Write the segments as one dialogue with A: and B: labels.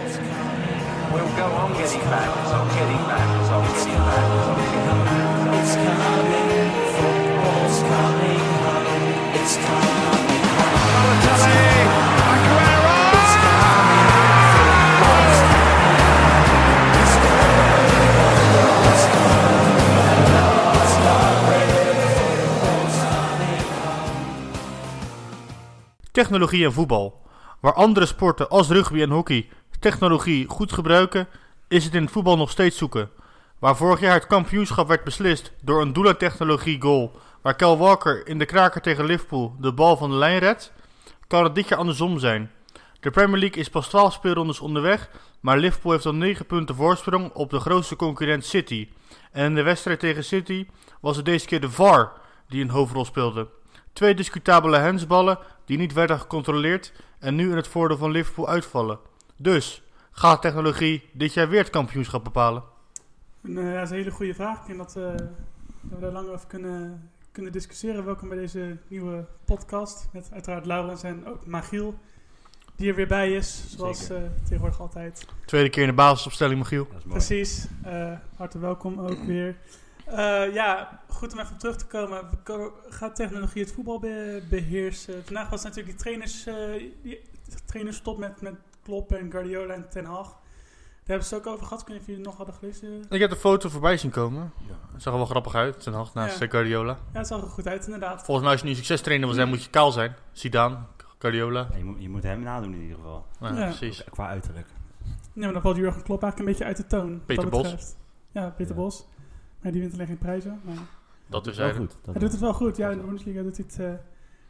A: We'll go on getting back, so getting back, so getting back, so getting back. It's coming, football's coming home. It's coming home. Balotelli, Aguero! It's coming, football's coming. It's coming, football's coming home. It's coming, football's coming home.
B: Technologie en voetbal. Waar andere sporten als rugby en hockey technologie goed gebruiken, is het in het voetbal nog steeds zoeken. Waar vorig jaar het kampioenschap werd beslist door een doelentechnologie goal, waar Kel Walker in de kraker tegen Liverpool de bal van de lijn redt, kan het dit jaar andersom zijn. De Premier League is pas 12 speelrondes onderweg, maar Liverpool heeft al 9 punten voorsprong op de grootste concurrent City. En in de wedstrijd tegen City was het deze keer de VAR die een hoofdrol speelde. Twee discutabele handsballen die niet werden gecontroleerd en nu in het voordeel van Liverpool uitvallen. Dus, gaat technologie dit jaar weer het kampioenschap bepalen?
C: Nou ja, dat is een hele goede vraag. Ik denk dat, eh, dat we daar lang over kunnen, kunnen discussiëren. Welkom bij deze nieuwe podcast. Met uiteraard Laurens en ook Magiel, die er weer bij is. Zoals eh, tegenwoordig altijd.
B: Tweede keer in de basisopstelling, Michiel.
D: Dat is mooi.
C: Precies. Eh, hartelijk welkom ook weer. Eh, ja, goed om even op terug te komen. We ko- Gaat technologie het voetbal be- beheersen? Vandaag was natuurlijk die trainers, eh die trainerstop met, met Klopp en Guardiola en Ten Hag. Daar hebben ze het ook over gehad. Ik weet niet of jullie het nog hadden gelezen.
B: Ik heb de foto voorbij zien komen.
D: Ja.
B: Het zag er wel grappig uit, ten hand naast
C: Ja.
B: eh, Guardiola.
C: Ja, het zag er goed uit inderdaad.
B: Volgens mij als je nu een succestrainer wil zijn, moet je kaal zijn. Zidane, Guardiola.
D: Ja, Je, moet, je moet hem nadoen in ieder geval.
B: Ja,
C: Ja.
B: precies.
D: Qua uiterlijk.
C: Ja, maar dan valt Jurgen Klopp eigenlijk een beetje uit de toon. wat
B: Peter
C: dat
B: Bos.
C: betreft. Ja, Peter
D: Ja.
C: Bos. Maar die wint alleen geen prijzen. Maar
B: Dat
D: doet
B: is
D: wel
B: hij.
D: goed. Dat
C: hij doet het wel goed. Ja, in de Bundesliga doet hij het, eh,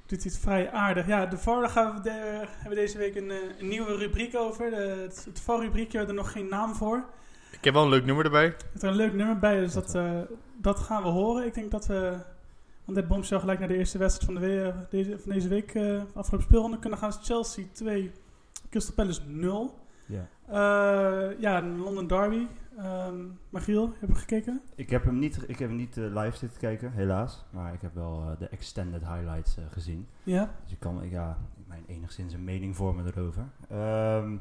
C: doet hij het vrij aardig. Ja, de VAR daar gaan we de- hebben we deze week een, eh, een nieuwe rubriek over. De, het, het VAR-rubriekje, we hebben er nog geen naam voor.
B: Ik heb wel een leuk nummer erbij.
C: Er zit er een leuk nummer bij, dus dat, eh, dat gaan we horen. Ik denk dat we... Want dit bomshell gelijk naar de eerste wedstrijd van, de we- deze, van deze week, eh, afgelopen speelronde, kunnen gaan. Chelsea 2, Crystal Palace 0.
D: Ja.
C: Eh, ja, een London Derby. Ehm Magiel, heb je gekeken?
D: Ik heb hem niet, ik heb hem niet eh, live zitten kijken, helaas. Maar ik heb wel eh, de extended highlights eh, gezien.
C: Ja.
D: Dus ik kan ik, ja, mijn enigszins een mening vormen erover. Ehm,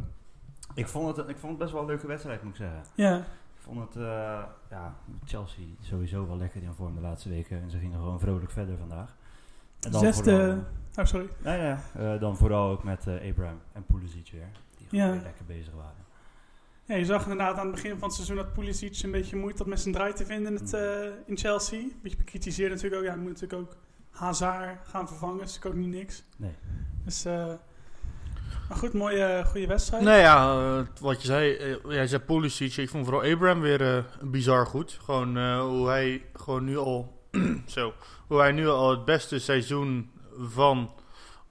D: ik, vond het, ik vond het best wel een leuke wedstrijd, moet ik zeggen.
C: Ja,
D: Ik vond het, eh, ja, Chelsea sowieso wel lekker in vorm de laatste weken. En ze gingen gewoon vrolijk verder vandaag. En dan
C: Zesde-
D: vooral-
C: oh sorry.
D: Nou ja, eh, dan vooral ook met eh Abraham en Pulisic weer. Die gewoon
C: Ja.
D: weer lekker bezig waren.
C: Ja, je zag inderdaad aan het begin van het seizoen dat Pulisic een beetje moeite had met zijn draai te vinden in, het, eh, in Chelsea. Een beetje bekritiseerd natuurlijk ook. Ja, hij moet natuurlijk ook Hazard gaan vervangen. is natuurlijk ook niet niks.
D: Nee.
C: Dus, eh, maar goed, mooie goede wedstrijd.
B: Nou ja, eh, wat je zei, eh, jij zei Pulisic. Ik vond vooral Abraham weer eh, bizar goed. Gewoon eh, hoe hij gewoon nu al, zo, hoe hij nu al het beste seizoen van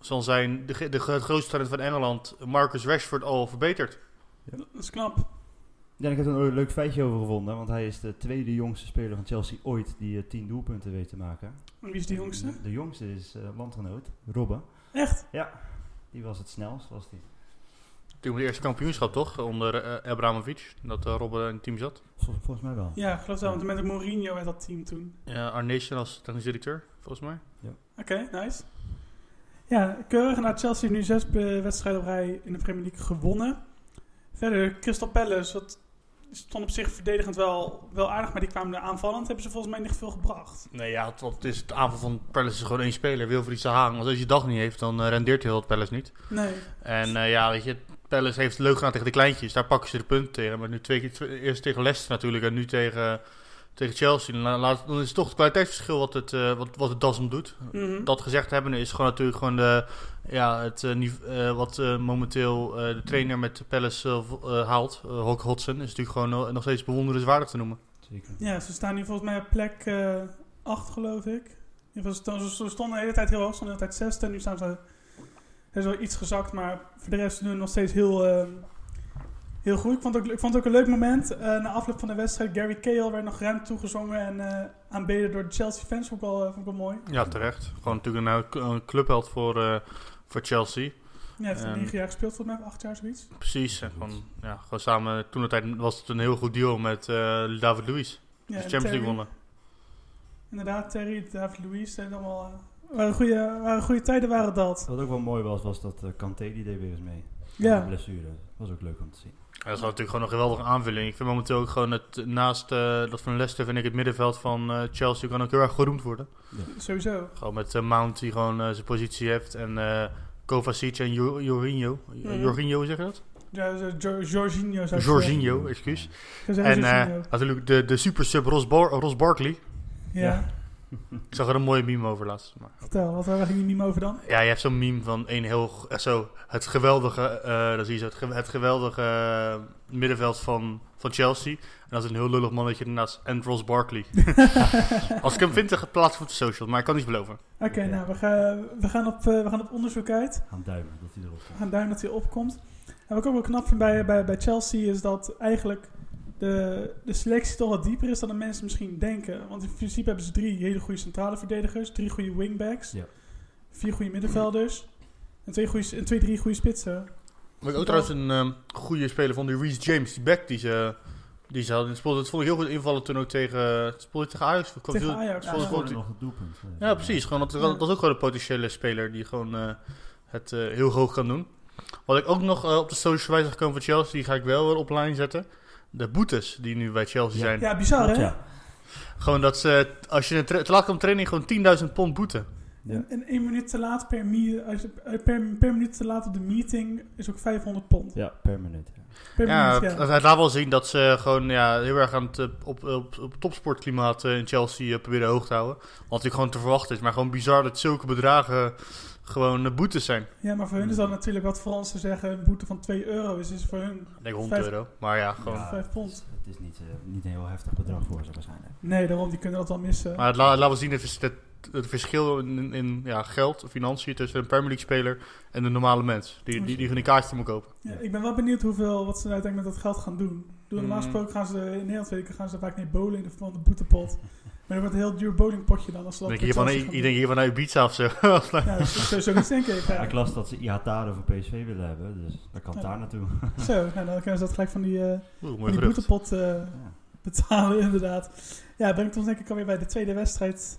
B: zal zijn, de, ge- de, gro- het grootste talent van Engeland, Marcus Rashford al verbeterd.
C: Dat is knap.
D: Ja, ik heb er een leuk feitje over gevonden. Want hij is de tweede jongste speler van Chelsea ooit die eh, 10 doelpunten weet te maken.
C: En wie is die jongste?
D: De jongste is eh, landgenoot, Robben.
C: Echt?
D: Ja, die was het snelst, was die.
B: Toen het eerste kampioenschap toch, onder eh Abramovic, dat eh, Robben in het team zat.
D: Vol- volgens mij wel.
C: Ja, ik geloof wel. Want met Mourinho werd dat team toen.
B: Ja, Arnation als technisch directeur, volgens mij.
C: Oké, nice. Ja, keurig. Nou, Chelsea heeft nu zes eh, wedstrijden op rij in de Premier League gewonnen. Verder, Crystal Palace. Dat stond op zich verdedigend wel, wel aardig, maar die kwamen er aanvallend. Hebben ze volgens mij niet veel gebracht.
B: Nee, ja, het, het is het aanval van Palace is gewoon één speler, Wilfried Zaha. Want als je dag niet heeft, dan eh, rendeert heel het Palace niet.
C: Nee.
B: En eh, ja, weet je, Palace heeft het leuk gedaan tegen de kleintjes. Daar pakken ze de punten tegen. Maar nu twee keer, twee- eerst tegen Leicester natuurlijk en nu tegen, tegen Chelsea. Dan, laat- dan is het toch het kwaliteitsverschil wat het, eh, wat, wat het das om doet.
C: Mhm.
B: Dat gezegd hebben is gewoon natuurlijk gewoon de, ja, het, eh, nive- eh, wat eh, momenteel eh, de trainer met Palace eh, vo- eh, haalt, eh, Hulk Hodgson, is natuurlijk gewoon no- nog steeds bewonderenswaardig te noemen.
D: Zeker.
C: Ja, ze staan nu volgens mij op plek 8, geloof ik. In ieder geval, Ze ze stonden de hele tijd heel hoog, stonden de hele tijd zesde. Nu staan ze... Er is wel iets gezakt, maar voor de rest doen ze nog steeds heel, eh, heel goed. Ik vond, ook, ik vond het ook een leuk moment. eh, na afloop van de wedstrijd, Gary Cahill werd nog ruim toegezongen en eh, aanbeden door de Chelsea fans. Vond ik wel, eh, vond ik wel mooi.
B: Ja, terecht. Gewoon natuurlijk een, een clubheld voor, eh, voor Chelsea.
C: Ja, hij heeft er
B: Ehm.
C: negen jaar gespeeld, volgens mij, of acht jaar zoiets.
B: Precies. En gewoon, ja, gewoon samen, toen de tijd was het een heel goed deal met eh, David Luiz.
C: Ja,
B: Dus
C: en
B: Champions League
C: Terry-
B: wonnen.
C: Inderdaad, Terry, David Luiz, dat allemaal... eh, waren, goede, waren goede tijden, waren dat.
D: Wat ook wel mooi was, was dat eh Kanté die deed weer eens mee.
C: Ja.
D: Ja. Blessure. Was ook leuk om te zien.
B: Dat is natuurlijk gewoon een geweldige aanvulling. Ik vind momenteel ook gewoon het, naast eh, dat van Leicester vind ik het middenveld van eh, Chelsea kan ook heel erg geroemd worden.
C: Sowieso.
B: Gewoon met eh, Mount die gewoon eh, zijn positie heeft en eh Kovacic en Jo- Jorginho. Eh,
C: Mhm.
B: Jorginho zeg je dat?
C: Ja, zo- Jo- Jorginho zou ik zeggen.
B: Jorginho, excuus.
C: Zo zeggen
B: En
C: ze
B: eh,
C: Jorginho.
B: natuurlijk de, de super sub Ross, Bar- Ross Barkley.
C: ja,
B: Ik zag er een mooie meme over laatst. Maar...
C: vertel. Wat waar ging die meme over dan?
B: Ja, je hebt zo'n meme van een heel... g- echt Zo, het geweldige, eh dat zie je zo, het, ge- het geweldige eh, middenveld van, van Chelsea. En dat is een heel lullig mannetje daarnaast. En Ross Barkley. Als ik hem vind, dan plaats ik het op de social. Maar ik kan niets beloven.
C: Oké, nou, we gaan, we, gaan op, eh, we gaan op onderzoek uit.
D: Aan duimen dat hij erop
C: We
D: komt.
C: gaan duim dat hij opkomt. En wat ik ook wel knap vind bij, bij, bij Chelsea is dat eigenlijk de, de selectie toch wat dieper is dan de mensen misschien denken. Want in principe hebben ze drie hele goede centrale verdedigers, drie goede wingbacks,
D: Ja.
C: vier goede middenvelders en twee, goede, en twee drie goede spitsen.
B: Maar ook trouwens een ehm, goede speler van die Reece James, die back die ze, die ze hadden. in het spel. Dat vond ik heel goed invallen toen ook tegen, het speelde tegen Ajax. Kwam
C: Tegen
B: veel-
C: Ajax,
B: speelde
C: ja.
B: gewoon-
D: nog het doelpunt. eh,
B: Ja, precies. Gewoon, dat, dat is ook gewoon een potentiële speler die gewoon eh, het eh, heel hoog kan doen. Wat ik ook nog eh, op de social wijze gekomen van Chelsea, die ga ik wel weer op line zetten. De boetes die nu bij Chelsea
D: Ja.
B: zijn.
C: Ja, bizar
D: Klopt,
C: hè?
D: ja.
B: Gewoon dat ze, eh, als je een tra- te laat komt training, gewoon 10.000 pond boete.
D: Ja.
C: En, en één minuut te laat per, mi- als je- eh, per, per minuut te laat op de meeting is ook 500 pond.
D: ja, per minuut. ja.
C: Per
B: Ja,
C: minuut,
B: het, het laat wel zien dat ze gewoon ja, heel erg aan het eh, op, op, op topsportklimaat eh, in Chelsea eh, proberen hoog te houden. Wat natuurlijk gewoon te verwachten is. Maar gewoon bizar dat zulke bedragen gewoon eh, boetes zijn.
C: ja, maar voor hun is
B: Hmm.
C: dat natuurlijk wat Fransen zeggen, een boete van 2 euro is, is voor hun
B: Ik denk 100
C: Vijf-
B: euro. Maar ja, gewoon.
D: Ja,
C: vijf pond.
D: Het is, het is niet, eh, niet een heel heftig bedrag voor ze waarschijnlijk.
C: Nee, daarom, die kunnen dat wel missen.
B: Maar het la- laat wel zien het, vers- het, het verschil in, in, in, ja, geld, financiën tussen een Premier League speler en de normale mens. Die, die, die gewoon een kaartje moet kopen.
C: Ja, ik ben wel benieuwd hoeveel, wat ze nou uiteindelijk met dat geld gaan doen. Doe, normaal
B: Mm.
C: gesproken gaan ze in Nederland weken gaan ze vaak mee bowlen in de verband met de boetepot. Maar dat wordt een heel duur bowlingpotje dan. Als ze
B: Ik
C: dat
B: denk
C: met
B: hier van,
C: Chelsea
B: ik
C: gaan
B: denk hier van Ibiza of nou, zo.
C: doen. Ja, dat is zoiets denk ik.
D: Ik
C: Ja.
D: las dat ze Ihatare voor PSV willen hebben, dus dat kan
C: Ja.
D: daar naartoe.
C: Zo, nou, dan kunnen ze dat gelijk van die, eh,
B: Oeh,
C: van
B: mooi
C: die
B: gerucht.
C: boetepot eh,
D: Ja.
C: betalen, inderdaad. Ja, brengt ons denk ik alweer bij de tweede wedstrijd.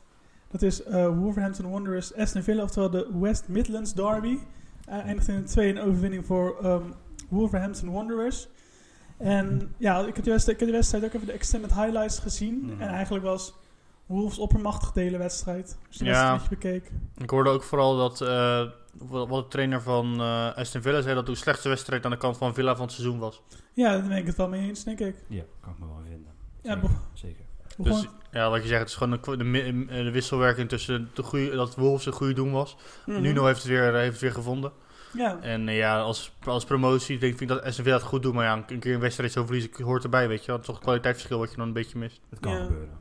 C: Dat is eh, Wolverhampton Wanderers Aston Villa, oftewel de West Midlands Derby. Eh, eindigt in een 2-1 overwinning voor ehm, Wolverhampton Wanderers.
B: Hm.
C: En ja, ik heb, de wedstrijd, ik heb de wedstrijd ook even de extended highlights gezien.
D: Mhm.
C: En eigenlijk was Wolves oppermachtig de hele wedstrijd. Als je de
B: Ja.
C: wedstrijd een beetje bekeek.
B: Ik hoorde ook vooral dat eh, wat wat de trainer van eh, Aston Villa zei dat de slechtste wedstrijd aan de kant van Villa van het seizoen was.
C: Ja, daar ben ik het wel mee eens, denk ik.
D: ja, kan ik me wel in vinden.
C: Ja,
D: Zeker.
C: bo-
D: Zeker.
C: begon-
B: Dus ja, wat je zegt, het is gewoon de, kwa- de, mi- eh, de wisselwerking tussen de goeie, dat Wolves een goede doen was.
C: Mhm.
B: Nuno heeft het weer, heeft het weer gevonden.
C: Ja,
B: En eh, ja, als, als promotie denk, ik- vind ik dat SNV dat goed doet. Maar ja, een- een keer een wedstrijd zo verliezen hoort erbij, weet je. wel. Dat is toch een kwaliteitsverschil wat je dan een beetje mist.
D: Het kan
C: Ja.
D: gebeuren.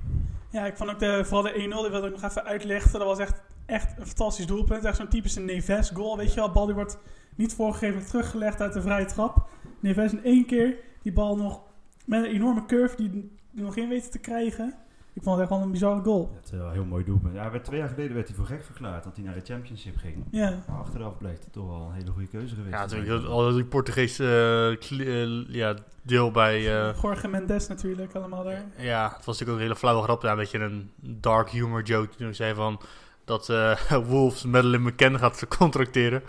C: Ja, ik vond ook de, vooral de 1-0, die wilde ik nog even uitlichten. Dat was echt, echt een fantastisch doelpunt. Echt zo'n typische Neves goal, weet je wel. Bal die wordt niet voorgegeven, teruggelegd uit de vrije trap. Neves in één keer die bal nog met een enorme curve die die nog in weten te krijgen. Ik vond het echt wel een bizarre goal.
D: Ja, het is wel een heel mooi doelpunt. Ja, hij werd twee jaar geleden werd hij voor gek verklaard dat hij naar de Championship ging.
C: Ja,
D: Maar achteraf blijkt het toch wel een hele goede keuze geweest.
B: Ja,
D: te zijn.
B: natuurlijk. dat- Al die Portugese eh, kli- eh, ja, deel bij... eh,
C: Jorge Mendes natuurlijk allemaal daar.
B: ja, het was natuurlijk ook een hele flauwe grap. Ja, een beetje een dark humor joke. Toen ik zei van... Dat eh, Wolves Madeleine McCann gaat contracteren.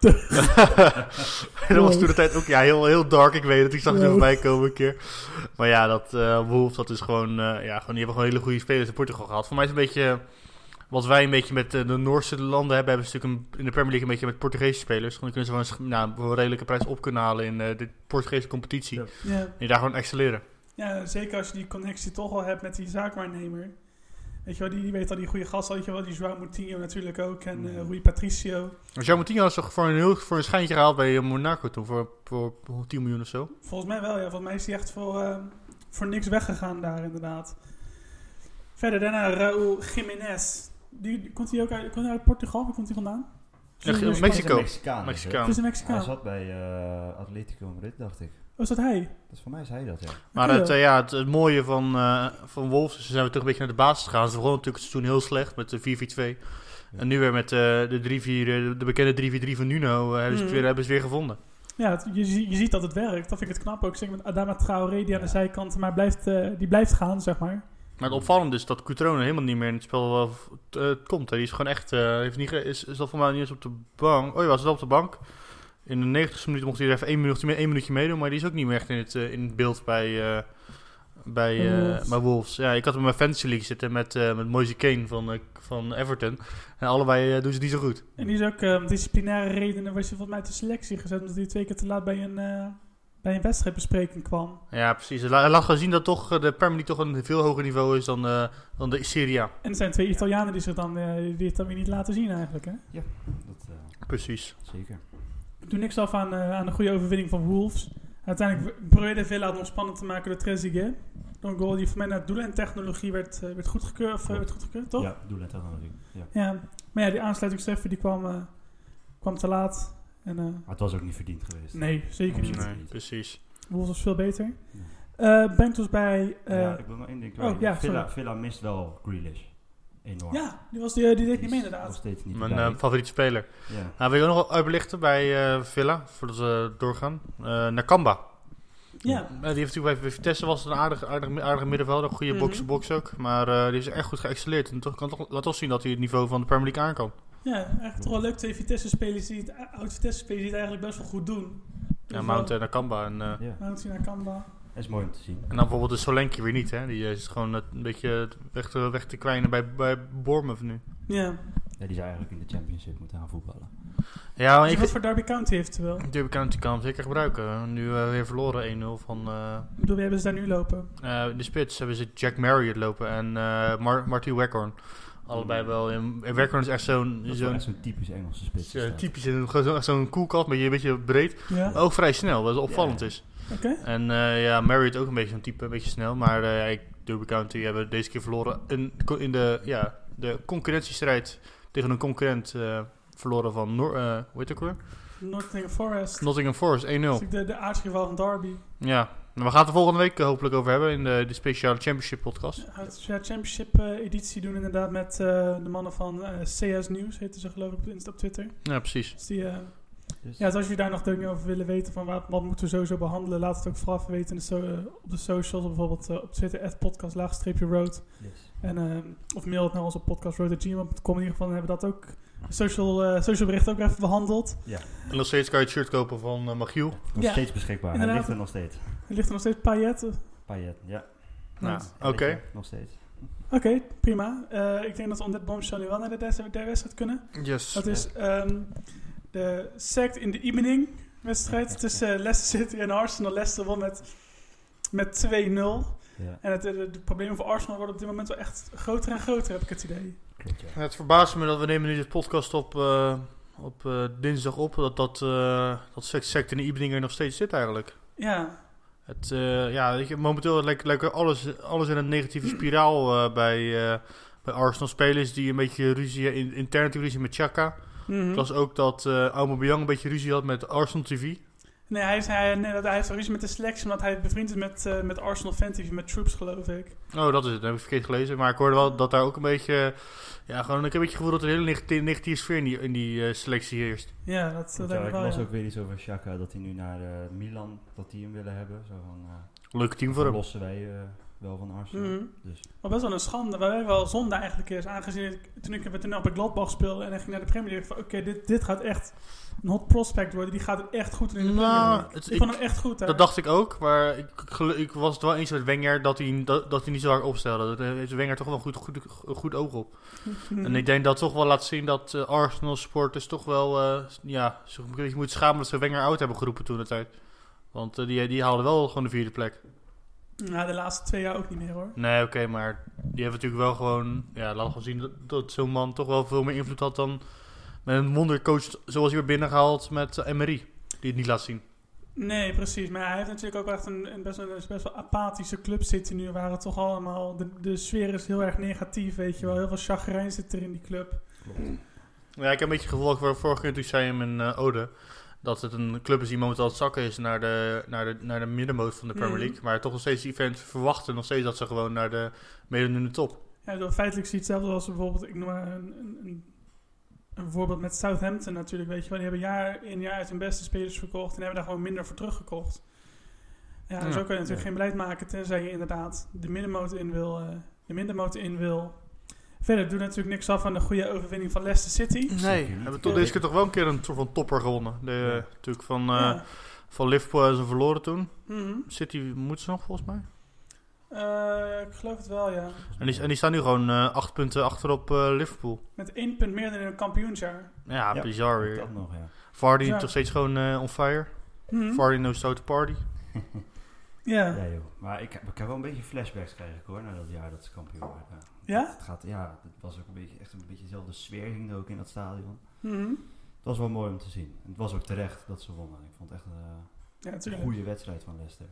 B: dat was toen de tijd ook ja, heel, heel dark, ik weet het. Ik zag het er
C: Wow.
B: voorbij komen een keer. Maar ja, dat eh, Wolves, dat is gewoon, eh, ja, gewoon... Die hebben gewoon hele goede spelers in Portugal gehad. Voor mij is het een beetje... eh, Wat wij een beetje met eh, de Noorse landen hebben... Hebben ze natuurlijk een- in de Premier League een beetje met Portugese spelers. Gewoon die kunnen ze gewoon een, sch- nou, voor een redelijke prijs op kunnen halen... in eh, de Portugese competitie.
D: Ja.
C: Ja.
B: En je daar gewoon excelleren.
C: ja, zeker als je die connectie toch al hebt met die zaakwaarnemer. Weet je wel, die, die weet al die goede gasten. Weet je wel, die João Moutinho natuurlijk ook. En eh, Rui Patricio.
B: Maar Jean Moutinho Dus is toch voor een, heel, voor een schijntje gehaald bij eh, Monaco toen, voor, voor 10 miljoen of zo.
C: Volgens mij wel, ja. Volgens mij is hij echt voor, ehm, voor niks weggegaan daar, inderdaad. Verder daarna Raúl Jiménez. Die, die- komt hij ook uit, komt hij uit Portugal? Waar komt hij vandaan? Is hij
B: Ja,
C: een
D: Hij is
B: Mexico.
D: een Mexicaan. is het?
B: Mexicaan.
C: Het is een
D: Hij
C: Mexicaan.
D: zat bij eh, Atletico Madrid, dacht ik.
C: Oh, is dat hij?
D: Dus voor mij is hij dat, ja.
B: Maar
C: Oké,
B: het,
C: joh.
B: eh, ja, het, het mooie van, eh van Wolves is, ze zijn we toch een beetje naar de basis gegaan. Ze begonnen natuurlijk het seizoen heel slecht met eh, de 4-4-2. En nu weer met eh, de, 3-4, eh, de bekende 3-4-3 van Nuno eh, hebben, ze het
C: Mhm.
B: weer, hebben ze het weer gevonden.
C: Ja, het- je, zie- je ziet dat het werkt. Dat vind ik het knap ook. Zeker met Adama Traoré, die aan de
D: Ja.
C: zijkant maar blijft, eh, die blijft gaan, zeg maar.
B: Maar het opvallende is dat Cutrone helemaal niet meer in het spel eh, v- t- eh, komt. Hè. Die is gewoon echt, eh, heeft niet ge- is, is dat voor mij niet eens op de bank. Oh ja, was wel op de bank. In de 90ste minuut mocht hij er even één minuutje, mee, één minuutje meedoen, maar die is ook niet meer echt in het, eh, in het beeld bij, eh, bij, eh,
C: Wolves.
B: bij Wolves. Ja, ik had hem in mijn Fantasy League zitten met, eh met Moise Kane van, eh, van Everton. En allebei eh, doen ze het niet zo goed.
C: En die is ook eh, om disciplinaire redenen was je volgens mij uit de selectie gezet. Omdat hij twee keer te laat bij een, eh, bij een wedstrijdbespreking kwam.
B: Ja, precies. La- Laat gaan zien dat toch eh, de Premier League toch een veel hoger niveau is dan, eh, dan de Serie A.
C: En er zijn twee Italianen die, zich dan, eh, die het dan weer niet laten zien eigenlijk. Hè?
D: Dat, eh,
B: Precies.
D: zeker.
C: Ik doe niks af aan, eh, aan de goede overwinning van Wolves. Uiteindelijk probeerde Villa het ontspannen te maken door Trezeguet. Door een goal die voor mij naar doelen en technologie werd, eh, werd, goedgekeurd, of, eh, werd goedgekeurd, toch?
D: Ja, doel en technologie. Ja.
C: Ja. Maar ja, die aansluitingstreffer die kwam, eh, kwam te laat. En, eh,
D: Maar het was ook niet verdiend geweest.
C: nee, zeker niet.
D: Nee.
B: precies.
C: Wolves was veel beter. Eh Bengt was bij... eh,
D: ja, ik wil nog één ding kwijt.
C: oh, ja,
D: Villa,
C: sorry.
D: Villa mist wel Grealish. Enorm.
C: Ja, die, was, die, die
D: Die
C: deed
D: is
C: niet mee
D: Nog
C: inderdaad.
D: steeds niet
B: Mijn
D: erbij.
B: eh, favoriete speler.
D: ja.
B: Nou, wil je ook nog wel uitbelichten bij eh, Villa, voordat we doorgaan? Eh Nakamba.
C: Ja,
B: Eh, die heeft natuurlijk bij Vitesse was het een aardig, aardig, aardig middenvelder, een goede
C: Mhm.
B: box box ook. Maar eh, die is echt goed geëxceleerd. En toch, kan toch, laat toch zien dat hij het niveau van de Premier League aan kan.
C: ja, eigenlijk toch wel leuk. Twee Vitesse-spelers die het, oud-Vitesse-spelers die het eigenlijk best wel goed doen.
B: Ja, Mount en Nakamba. En, eh,
D: ja.
C: Mount naar Kamba.
D: Het is mooi om te zien.
B: en dan bijvoorbeeld de Solenki weer niet. Hè? Die eh, is gewoon eh, een beetje weg te, weg te kwijnen bij, bij Bournemouth nu.
C: Ja,
D: Ja, die zou eigenlijk in de Championship moeten gaan voetballen.
B: Ja, maar
C: Zie
B: ik,
C: je wat voor Derby County heeft wel. Ik
B: die heb ik aan het kan hem zeker gebruiken. Nu eh, weer verloren 1-0 van... eh,
C: bedoel, wie hebben ze daar nu lopen?
B: Eh, in de spits hebben ze Jack Marriott lopen en eh Mar Marty Weckhorn. Allebei wel. En en Weckhorn is echt zo'n
D: Dat is wel
B: zo'n
D: echt zo'n typisch Engelse spits.
B: zo'n
D: is dat.
B: typisch, zo'n zo'n- zo'n koelkast, maar een beetje breed.
C: Ja,
B: Maar ook vrij snel, wat opvallend
D: Ja.
B: is.
C: Oké.
B: En eh, ja, Marriott ook een beetje zo'n type, een beetje snel. Maar eh ik, Derby County hebben deze keer verloren in, in de, ja, de concurrentiestrijd tegen een concurrent eh, verloren van Noor, eh, hoe heet het ook weer?
C: Nottingham Forest.
B: Nottingham Forest 1-0.
C: Dat is de, de aartsrivaal van Derby.
B: Ja, maar we gaan het er volgende week eh, hopelijk over hebben in de, de speciale Championship podcast.
C: Uit de Championship eh, editie doen inderdaad met eh, de mannen van eh, CS News, heten ze geloof ik op, Insta- op Twitter.
B: Ja, precies.
C: Dus die, eh,
D: Dus-
C: ja, dus als jullie daar nog dingen over willen weten, van wat, wat moeten we sowieso behandelen, laat het ook vooral even weten in de so- eh, op de socials, bijvoorbeeld eh, op Twitter, podcast-road.
D: Yes.
C: En, eh, of mail het naar ons op podcastroad.gmail.com. In ieder geval dan hebben we dat ook, social, eh, social berichten ook even behandeld.
B: En nog steeds kan je het shirt kopen van eh Magiel.
D: Nog
C: Ja,
D: steeds beschikbaar. Hij
C: inderdaad.
D: ligt er nog steeds.
C: Er ligt er nog steeds Payet. Oké,
D: Payet, ja.
B: Nou,
C: Nice.
B: oké.
D: Nog steeds.
C: prima. Eh, ik denk dat we om dit bombshell nu wel naar de derde derde wedstrijd kunnen.
B: Yes.
C: Dat is ehm, de Sect in de Evening wedstrijd tussen eh, Leicester City en Arsenal. Leicester won met, met 2-0.
D: Ja,
C: En het, eh, de, problemen voor Arsenal worden op dit moment wel echt groter en groter, heb ik het idee.
D: klopt ja.
B: Het verbaast me dat we nemen nu dit podcast op, eh, op eh, dinsdag op. Dat dat, eh dat sect, sect in de evening er nog steeds zit eigenlijk.
C: Ja,
B: Het, eh, ja, weet je, momenteel lijkt, lijkt er alles, alles in een negatieve spiraal eh, bij, eh, bij Arsenal spelers. Die een beetje ruzie, in, interne ruzie met Chaka.
C: Mhm.
B: Ik las ook dat eh Aubameyang een beetje ruzie had met Arsenal TV.
C: nee, hij, is, hij, nee, dat- hij heeft ruzie met de selectie, omdat hij bevriend is met, eh, met Arsenal Fantasy, met Troops geloof ik.
B: Oh, dat is het. Dat heb ik verkeerd gelezen. Maar ik hoorde wel dat daar ook een beetje... Ja, gewoon, ik heb een beetje het gevoel dat er een hele negati- negatieve sfeer in die, in die eh, selectie heerst.
C: Ja, dat, dat
D: Want ja,
C: denk ik
D: ik
C: wel.
D: las
C: ja.
D: ook weer iets over Shaka dat hij nu naar eh, Milan, dat die hem willen hebben. Zo van, eh,
B: Leuk team voor hem.
D: lossen wij eh, wel van Arsenal.
C: Mhm.
D: Dus
C: Maar best wel een schande. Waar wel zonde eigenlijk is. Aangezien ik, toen ik met op bij Gladbach speelde en hij ging naar de Premier League. van, Oké, dit, dit gaat echt een hot prospect worden. Die gaat het echt goed doen in de
B: Nou,
C: Premier League.
B: het-
C: ik vond
B: ik-
C: hem echt goed daar.
B: Dat dacht ik ook, maar ik, gelu- ik was het wel eens met Wenger dat hij, dat, dat hij niet zo hard opstelde. Dat daar heeft Wenger toch wel een goed, goed, goed oog op.
C: Mhm.
B: En ik denk dat toch wel laat zien dat eh, Arsenal supporters toch wel eh, ja, zich een beetje moeten schamen dat ze Wenger oud hebben geroepen toen de tijd. Want eh, die, die haalde wel gewoon de vierde plek.
C: Nou, de laatste twee jaar ook niet meer hoor.
B: Nee, oké, maar die heeft natuurlijk wel gewoon... Ja, laat gewoon zien dat, dat zo'n man toch wel veel meer invloed had dan met een wondercoach zoals hij weer binnengehaald met eh, Emery. Die het niet laat zien.
C: Nee, precies. Maar hij heeft natuurlijk ook echt een, een best, wel- een best wel apathische club zitten nu. Waar het toch allemaal... De, de sfeer is heel erg negatief, weet je wel. Heel veel chagrijn zit er in die club.
D: klopt.
B: Ja, ik heb een beetje gevolgd waar vorige keer toen zei in mijn eh, ode. Dat het een club is die momenteel aan het zakken is naar de, naar de, naar de middenmoot van de Premier
C: Mhm.
B: League. Maar toch nog steeds die fans verwachten nog steeds dat ze gewoon naar de meedoen in de top.
C: Ja, door feitelijk zie je hetzelfde als bijvoorbeeld, ik noem maar een, een, een, een voorbeeld met Southampton natuurlijk, weet je wel. Die hebben jaar in jaar uit hun beste spelers verkocht en hebben daar gewoon minder voor teruggekocht. Ja,
B: Ja,
C: zo kan je natuurlijk
D: ja.
C: geen beleid maken, tenzij je inderdaad de middenmoot in wil, eh, de middenmoot in wil. Verder doet natuurlijk niks af aan de goede overwinning van Leicester City.
B: Nee,
D: niet.
B: hebben we toch deze keer toch wel een keer een soort van topper gewonnen. De, eh, natuurlijk van, eh,
C: Ja.
B: van Liverpool hebben ze verloren toen.
C: Mhm.
B: City moet ze nog volgens mij.
C: Eh, ik geloof het wel, ja.
B: En die, en die staan nu gewoon eh acht punten achter op eh, Liverpool.
C: Met één punt meer dan in een kampioensjaar.
B: Ja,
D: Ja.
B: bizar weer.
D: Dat nog, ja.
B: Vardy
C: Bizar.
B: toch steeds gewoon eh, on fire.
C: Mhm.
B: Vardy no stoute party.
C: Ja.
D: Ja, joh. Maar ik heb, ik heb wel een beetje flashbacks gekregen ik, hoor, na dat jaar dat ze kampioen werden.
C: Ja?
D: Het gaat, ja, het was ook een beetje, echt een beetje dezelfde sfeer ging er ook in dat stadion.
C: Mhm.
D: Het was wel mooi om te zien. Het was ook terecht dat ze wonnen. Ik vond het echt een eh,
C: Ja, natuurlijk.
D: goede wedstrijd van Leicester.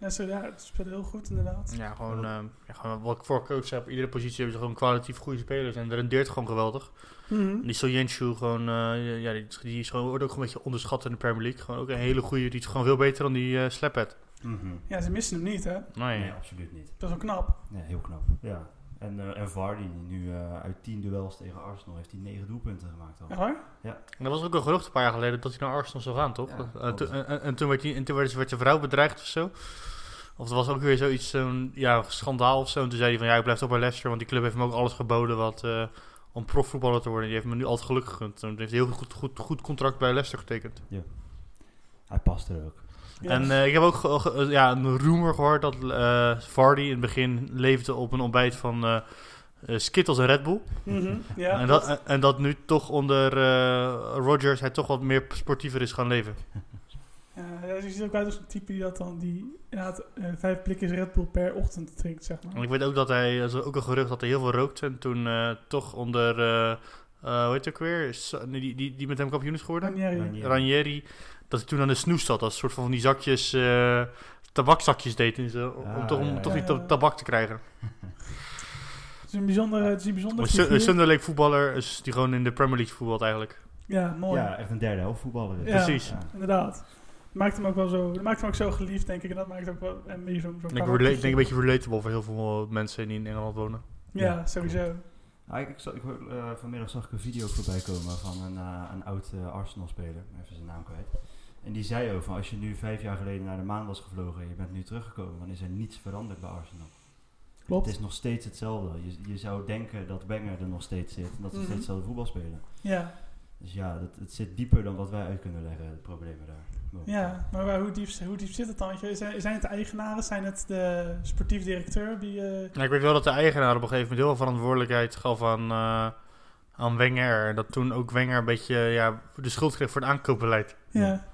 C: Leicester, ja, het speelde heel goed inderdaad.
B: Ja, gewoon, eh, ja, gewoon wat ik voor coach heb. Op iedere positie hebben ze gewoon kwalitatief goede spelers. En dat rendeert gewoon geweldig.
C: Mhm.
B: Die Soyenshu gewoon, eh, ja, die, die is gewoon, wordt ook een beetje onderschat in de Premier League. Gewoon ook een hele goede, die is gewoon veel beter dan die eh Slaphead.
C: Ja, ze missen hem niet, hè?
B: Nee.
D: Nee, absoluut niet.
C: Dat is wel knap.
D: Nee, heel knap. Ja. En, eh, en Vardy, die nu eh, uit 10 duels tegen Arsenal heeft hij 9 doelpunten gemaakt al.
C: Echt waar?
B: En dat was ook een gerucht een paar jaar geleden dat hij naar Arsenal zou gaan, toch?
D: Ja,
B: Eh,
D: klopt.
B: toen- en, en- en toen werd, hij, en toen werd, werd zijn vrouw bedreigd of zo. Of er was ook weer zoiets, zo'n ja, schandaal of zo. En toen zei hij van ja, ik blijf toch bij Leicester, want die club heeft me ook alles geboden wat, eh, om profvoetballer te worden. Die heeft me nu altijd geluk gegund. En die heeft een heel goed, goed, goed contract bij Leicester getekend.
D: Hij past er ook.
C: Ja.
B: En eh, ik heb ook ge- ge- eh, ja, een rumor gehoord dat eh, Vardy in het begin leefde op een ontbijt van eh, eh, Skittles en Red Bull.
C: Mhm. Ja,
B: en, dat, en, en dat nu toch onder eh, Rodgers hij toch wat meer sportiever is gaan leven.
C: Ja, ja, je ziet ook uit als een type die dat dan, die inderdaad eh, vijf blikjes Red Bull per ochtend drinkt, zeg
B: En
C: maar.
B: ik weet ook dat hij, er is ook een gerucht dat hij heel veel rookte. En toen eh, toch onder, eh, eh, hoe heet het ook weer? Sa- nee, Die, die, die met hem kampioen is geworden?
C: Ranieri.
D: Ranieri. Ja.
B: Ranieri. Dat hij toen aan de snoes zat. Als een soort van van die zakjes, eh, tabakzakjes deed. En zo, om
D: Ah,
B: toch, om
D: ja, ja.
B: toch niet ta- tabak te krijgen.
C: Het is een bijzonder, het is een bijzonder
B: Een Su- een
C: figuur.
B: Sunderland voetballer is die gewoon in de Premier League voetbalt eigenlijk.
C: Ja, mooi.
D: Ja, echt een derde helft voetballer.
C: Ja.
B: Precies.
D: Ja.
C: Inderdaad. Maakt hem ook wel zo, dat maakt hem ook zo geliefd, denk ik. En dat maakt ook wel en meer zo'n zo
B: Ik denk, rela- ik denk een beetje relatable voor heel veel eh, mensen die in Engeland wonen.
C: Ja, sowieso.
D: Ah, ik, ik zag- ik hoor- eh, vanmiddag zag ik een video voorbij komen van een, eh, een oud Arsenal-speler, even zijn naam kwijt. En die zei ook van als je nu vijf jaar geleden naar de maan was gevlogen en je bent nu teruggekomen, dan is er niets veranderd bij Arsenal. Het
C: Klopt.
D: is nog steeds hetzelfde. Je, je zou denken dat Wenger er nog steeds zit en dat ze
C: Mhm.
D: steeds hetzelfde voetbal spelen.
C: Ja.
D: Dus ja, dat, het zit dieper dan wat wij uit kunnen leggen, de problemen daar.
C: ja, maar waar, hoe, diep, hoe diep zit het dan? Weet je, Zijn, zijn het de eigenaren? Zijn het de sportief directeur? Die, eh,
B: Ja, ik weet wel dat de eigenaar op een gegeven moment heel veel verantwoordelijkheid gaf aan, eh, aan Wenger. En dat toen ook Wenger een beetje ja, de schuld kreeg voor het aankoopbeleid.
C: ja.
D: Ja.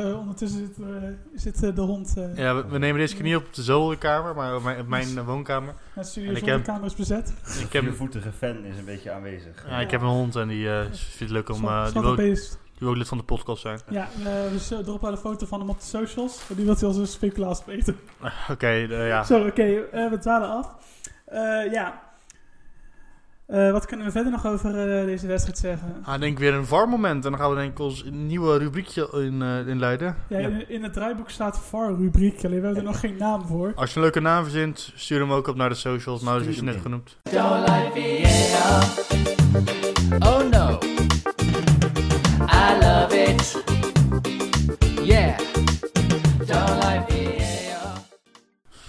C: Eh, ondertussen zit, eh, zit eh, de hond eh
B: Ja, we, we nemen deze keer niet op de zolderkamer, maar op mijn, op mijn eh, woonkamer.
C: naar de studio
B: En ik
C: zonder
B: heb-
C: camera's bezet.
B: Ik
D: De
B: heb,
D: viervoetige fan is een beetje aanwezig.
B: ja, ik heb een hond en die eh, vindt het leuk om... eh,
C: Slap-
B: die, wil,
C: slappe beest.
B: die wil ook lid van de podcast zijn.
C: Ja, eh, dus eh, drop wel een foto van hem op de socials. Die wilt hij als een speculaas op eten.
B: Oké, eh, ja.
C: Zo, oké, eh, we dwalen af. Eh, ja. Eh, wat kunnen we verder nog over eh, deze wedstrijd zeggen?
B: Ah, denk ik weer een VAR moment. En dan gaan we denk ik ons nieuwe rubriekje in, eh inleiden.
C: Ja,
D: Ja.
C: In, in het draaiboek staat VAR-rubriek, alleen we hebben er nog geen naam voor.
B: Als je een leuke naam verzint, stuur hem ook op naar de socials. Nou, dat is je
D: Stuur
B: net
D: hem
B: genoemd.
E: Don't like Vienna. Oh no. I love it. Yeah. Don't like Vienna.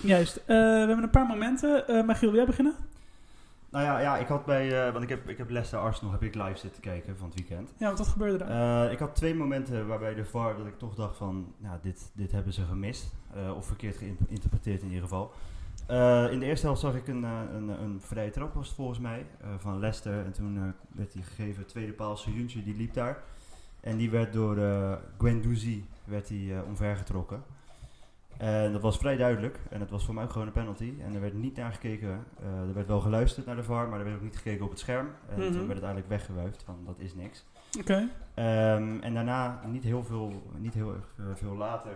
C: Juist, eh, we hebben een paar momenten. Eh maar Giel, wil jij beginnen?
D: Nou ja, ja ik had bij, eh, want ik heb, ik heb Leicester Arsenal heb ik live zitten kijken van het weekend.
C: Ja, want wat gebeurde daar?
D: Eh, ik had twee momenten waarbij de VAR dat ik toch dacht van, nou, dit, dit hebben ze gemist. Eh, of verkeerd geïnterpreteerd in ieder geval. Eh, in de eerste helft zag ik een, eh, een, een vrije trap, was het volgens mij, eh, van Leicester. En toen eh, werd die gegeven, tweede paal, Sejuntje, die liep daar. En die werd door eh Guendouzi werd die, eh omvergetrokken. En dat was vrij duidelijk. En het was voor mij ook gewoon een penalty. En er werd niet naar gekeken. Eh, er werd wel geluisterd naar de VAR, maar er werd ook niet gekeken op het scherm. En
C: Mhm.
D: toen werd het eigenlijk weggewuifd, van dat is niks.
C: Oké.
D: Ehm, en daarna, niet heel veel, niet heel erg, eh, veel later,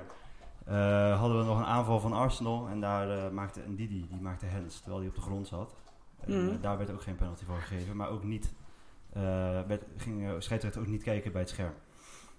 D: eh, hadden we nog een aanval van Arsenal. En daar eh, maakte een Didi, die maakte hands, terwijl hij op de grond zat. En,
C: Mhm.
D: eh, daar werd ook geen penalty voor gegeven, maar ook niet, eh, werd, ging eh, scheidsrechter ook niet kijken bij het scherm.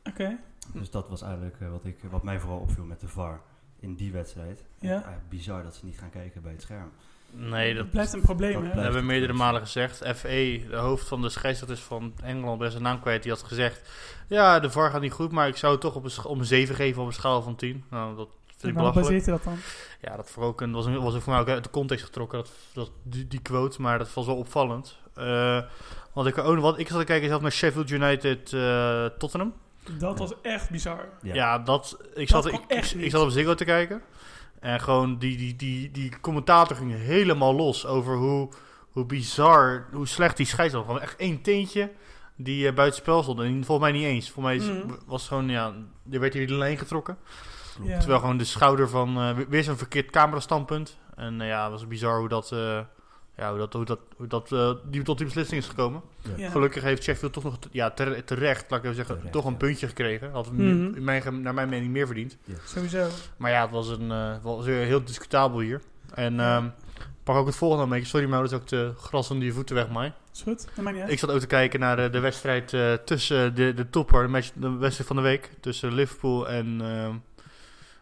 C: Oké, Hm.
D: Dus dat was eigenlijk eh, wat, ik, wat mij vooral opviel met de VAR in die wedstrijd.
C: Ja.
D: Eigenlijk bizar dat ze niet gaan kijken bij het scherm.
B: Nee, dat
C: het blijft een probleem,
D: dat
C: hè?
D: blijft-
B: Dat hebben we meerdere malen gezegd. FE, de hoofd van de scheidsrechters van Engeland, ben zijn naam kwijt. Die had gezegd, ja, de VAR gaat niet goed, maar ik zou het toch op een, sch- om een 7 geven op een schaal van 10. Nou, dat vind natuurlijk
C: Waarom
B: belachelijk.
C: baseert hij dat dan?
B: Ja, dat voor ook, en dat was, was ook voor mij ook uit de context getrokken, dat, dat, die, die quote, maar dat was wel opvallend. Eh, want ik, oh, wat, ik zat te kijken zelf naar Sheffield United eh, Tottenham.
C: Dat was echt bizar.
B: Ja,
D: Ja.
B: dat, ik,
C: Dat
B: zat, ik,
C: kon echt
B: ik, ik
C: niet.
B: zat op Ziggo te kijken. En gewoon die, die, die, die commentator ging helemaal los over hoe, hoe bizar, hoe slecht die scheidsrechter was. Gewoon echt één teentje die eh, buitenspel stond. En volgens mij niet eens. Volgens mij is-
C: Mhm.
B: was het gewoon, ja, er werd hier de lijn getrokken.
C: Ja.
B: Terwijl gewoon de schouder van, eh, weer- weer zo'n verkeerd camerastandpunt. En eh, ja, het was bizar hoe dat, eh, ja, hoe dat, hoe dat, hoe dat eh, die tot die beslissing is gekomen.
C: Ja.
B: Gelukkig heeft Sheffield toch nog, ja, tere- terecht, laat ik even zeggen,
D: Terecht,
B: toch een
D: ja.
B: puntje gekregen. Had hem
C: Mhm.
B: in mijn, ge- naar mijn mening meer verdiend.
C: Sowieso.
B: Maar ja, het was, een, eh, was weer heel discutabel hier. En ehm, pak ook het volgende mee. Sorry, maar dat is ook de gras onder je voeten weg, Mai.
C: Is goed. Dat maakt niet uit.
B: Ik zat ook te kijken naar eh, de wedstrijd eh, tussen de, de topper, de, match, de wedstrijd van de week. Tussen Liverpool en, ehm,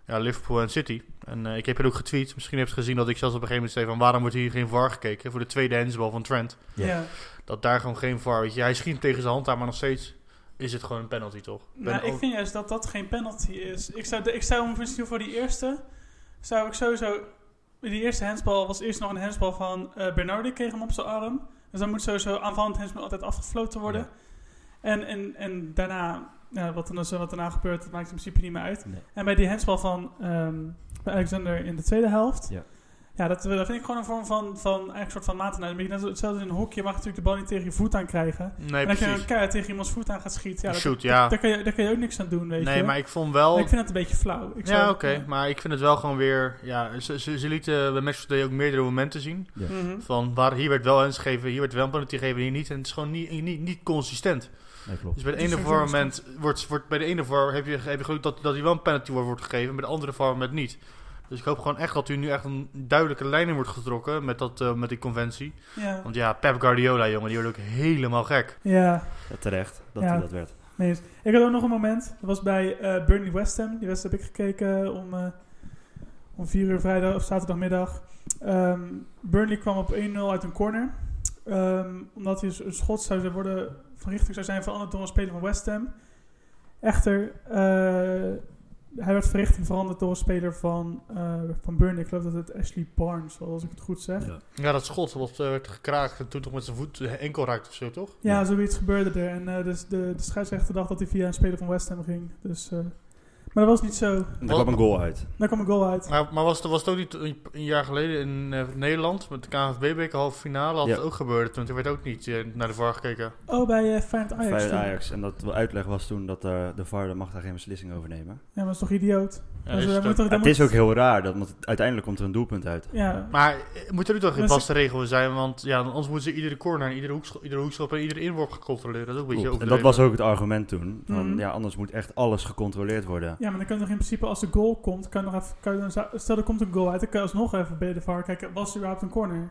B: ja, Liverpool en City. En eh, ik heb het ook getweet. Misschien heb je het gezien dat ik zelfs op een gegeven moment zei van... waarom wordt hier geen VAR gekeken voor de tweede handsbal van Trent?
D: Ja.
C: Ja.
B: Dat daar gewoon geen VAR... Weet je, hij schiet hem tegen zijn hand aan, maar nog steeds is het gewoon een penalty, toch? Ik ben oh,
C: Nou, ik
B: ook-
C: vind juist dat dat geen penalty is. Ik zou, de- ik zou hem misschien voor die eerste... Zou ik sowieso... Die eerste handsbal was eerst nog een handsbal van eh Bernardi. Kreeg hem op zijn arm. Dus dan moet sowieso aanvallend handsbal altijd afgefloten worden.
D: Ja.
C: En, en, en daarna... Ja, wat, er, wat daarna gebeurt, dat maakt in principe niet meer uit.
D: Nee.
C: En bij die handsbal van ehm, bij Alexander in de tweede helft...
D: Ja.
C: Ja, dat, dat vind ik gewoon een vorm van, van eigenlijk een soort van maten. Een beetje net zo- hetzelfde als in een hockey. Je mag natuurlijk de bal niet tegen je voet aan krijgen.
B: Nee,
C: en als je een
B: precies.
C: keihard tegen iemands voet aan gaat schieten, ja, dat,
B: Shoot, ja.
C: daar, kan je, daar kan je ook niks aan doen, weet je.
B: Nee, maar ik vond wel...
C: Maar ik vind dat een beetje flauw. Ik
B: ja,
C: zou-
B: oké. Maar ik vind het wel gewoon weer... Ja, ze, ze, ze lieten bij Match of the Day ook meerdere momenten zien.
C: Mhm.
B: Van waar hier werd wel hands gegeven, hier werd wel een penalty gegeven, hier niet. En het is gewoon niet, niet, niet consistent.
D: Nee, klopt.
B: Dus bij de
C: Het is
B: ene
C: geen
B: voor moment wordt, wordt bij de ene voor heb je, heb je geluk dat, dat hij wel een penalty wordt, wordt gegeven, en bij de andere voor moment niet. Dus ik hoop gewoon echt dat u nu echt een duidelijke lijn in wordt getrokken met, dat, eh, met die conventie.
C: Ja.
B: Want ja, Pep Guardiola, jongen, die wordt ook helemaal gek.
C: Ja,
D: Ja, terecht dat
C: Ja.
D: hij dat werd.
C: nee eens. Ik had ook nog een moment. Dat was bij eh Burnley West Ham. Die wedstrijd heb ik gekeken om, eh, om 4 uur vrijdag of zaterdagmiddag. Ehm, Burnley kwam op 1-0 uit een corner. Ehm, omdat hij een schot zou worden, van richting zou zijn veranderd door een speler van West Ham. Echter, eh, hij werd van richting veranderd door een speler van, eh, van Burnley. Ik geloof dat het Ashley Barnes was, als ik het goed zeg.
B: Ja, dat schot wat eh, werd gekraakt en toen toch met zijn voet de enkel raakt of zo, toch?
C: Ja,
D: Ja.
C: zoiets gebeurde er. En eh, dus de, de scheidsrechter dacht dat hij via een speler van West Ham ging. Dus, eh, maar dat was niet zo.
D: En Er kwam een goal uit.
C: Daar kwam een goal uit.
B: Maar, maar was, het- was het ook niet een, een jaar geleden in eh, Nederland met de KNVB-beker halve finale? Had
D: Ja.
B: het ook gebeurd, want er werd ook niet eh, naar de VAR gekeken.
C: Oh, bij eh, Feyenoord Ajax.
D: Feyenoord
C: toen.
D: Ajax. En dat wel uitleg was toen dat eh, de VAR daar mag daar geen beslissing over nemen.
C: Ja, maar dat is toch idioot?
B: Ja,
C: Dus
B: dus
C: daar
B: dat-
C: moet toch- daar
D: het
C: moet-
D: is ook heel raar, dat, want uiteindelijk komt er een doelpunt uit.
C: Ja,
B: Maar eh, moet er nu toch geen
C: Dus-
B: vaste regel zijn? Want ja, anders moeten ze iedere corner, en iedere hoekschop, iedere hoekschop en iedere inworp gaan controleren. Dat is ook een beetje
D: Klopt. En dat
B: overdreven.
D: was ook het argument toen. Van,
C: Mhm.
D: Ja, anders moet echt alles gecontroleerd worden.
C: ja, maar dan kan je nog in principe als de goal komt, kan je nog even, kan je dan, stel er komt een goal uit, dan kan je alsnog even bij de VAR kijken, was er überhaupt een corner?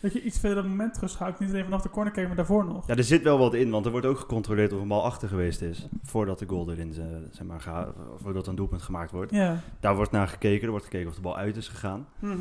C: Dat je iets verder op het moment terugschouwt, niet alleen vanaf de corner kijken, maar daarvoor nog.
D: Ja, er zit wel wat in, want er wordt ook gecontroleerd of een bal achter geweest is. Voordat de goal erin, eh, zeg maar, geha- voordat een doelpunt gemaakt wordt.
C: Ja.
D: Daar wordt naar gekeken, er wordt gekeken of de bal uit is gegaan.
C: Mhm.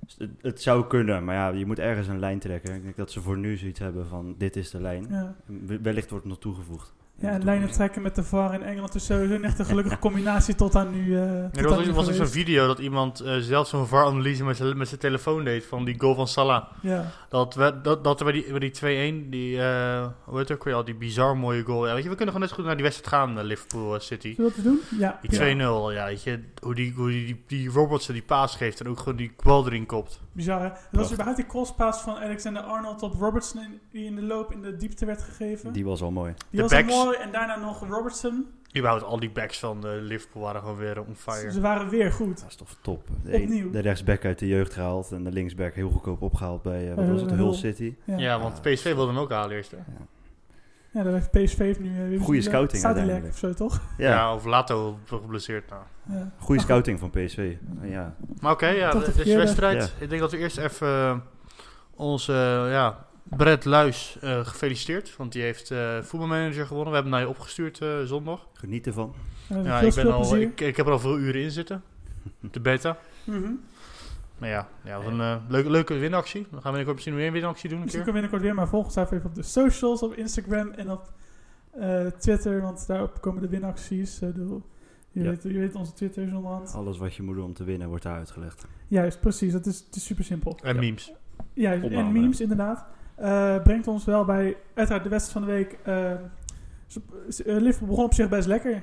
D: Dus het, het zou kunnen, maar ja, je moet ergens een lijn trekken. Ik denk dat ze voor nu zoiets hebben van, dit is de lijn.
C: ja.
D: En Wellicht wordt het nog toegevoegd.
C: Ja, en lijnen trekken met de VAR in Engeland is sowieso niet echt een gelukkige combinatie tot aan nu. eh, tot
B: Er was,
C: aan nu
B: ook- was ook zo'n
C: geweest.
B: video dat iemand eh, zelf zo'n VAR-analyse met zijn- met zijn telefoon deed van die goal van Salah.
C: Ja.
B: Dat, we, dat, dat er bij die, bij die 2-1, die, eh, hoe heet het ook weer al, die bizar mooie goal. Ja, weet je, we kunnen gewoon net zo goed naar die wedstrijd gaan, eh, Liverpool eh, City.
C: Zullen we dat eens doen? Ja.
B: Die 2-0, ja, weet je, hoe die, hoe die, die, die Robertson die paas geeft en ook gewoon die bal erin kopt.
C: Bizar, hè? Het was
D: Prachtig.
C: überhaupt die crosspaas van Alexander-Arnold op Robertson... in- die in de loop in de diepte werd gegeven. Die,
D: Die was al mooi.
C: was
B: de
C: al
B: backs.
C: mooi. En daarna nog Robertson.
B: Überhaupt, al die backs van eh, Liverpool waren gewoon weer on
C: Ze,
B: fire.
C: ze waren weer goed.
D: Dat is toch top. De,
C: Opnieuw.
D: de rechtsback uit de jeugd gehaald en de linksback heel goedkoop opgehaald bij, eh, wat
C: Eh,
D: was het,
C: Hull.
D: Hull City.
C: Ja, ja.
B: Ja, want PSV wilde hem ook halen eerst. Hè?
C: daar heeft PSV heeft nu... eh, weer
D: Goeie
C: zo'n, eh,
D: scouting
C: Sadilek
D: uiteindelijk.
C: of zo, toch?
B: Ja.
D: Ja,
B: of Lato geblesseerd. Nou.
C: Ja.
D: goede scouting van PSV. Nou Ja,
B: Maar oké, ja,
C: Tot de
B: dit is de
C: verkeerde.
B: wedstrijd. Ik denk dat we eerst even eh, onze eh, ja, Brett Luis eh, gefeliciteerd. Want die heeft eh, voetbalmanager gewonnen. We hebben hem naar je opgestuurd eh, zondag.
D: geniet ervan.
C: Ja,
B: Ja,
C: veel
B: ik, ben al,
C: speelplezier.
B: ik, ik heb er al veel uren in zitten. De beta.
C: Mhm.
B: Maar ja, ja wat een eh, leuke, leuke winactie. Dan gaan we binnenkort misschien weer een winactie doen een
C: Misschien
B: keer.
C: kunnen we binnenkort weer, maar volg ons even op de socials, op Instagram en op eh, Twitter, want daarop komen de winacties. eh, de Je,
D: Ja.
C: weet, je weet onze Twitter onderhand.
B: Oh.
D: Alles wat je moet doen om te winnen wordt daar uitgelegd.
C: Juist, precies. Het is, het is super simpel.
B: En
D: Ja.
B: memes.
C: Ja,
D: Onder
C: en
D: andere.
C: memes inderdaad. Eh, brengt ons wel bij, uiteraard, de wedstrijd van de week. Eh, ze- ze- eh, Liverpool begon op zich best lekker.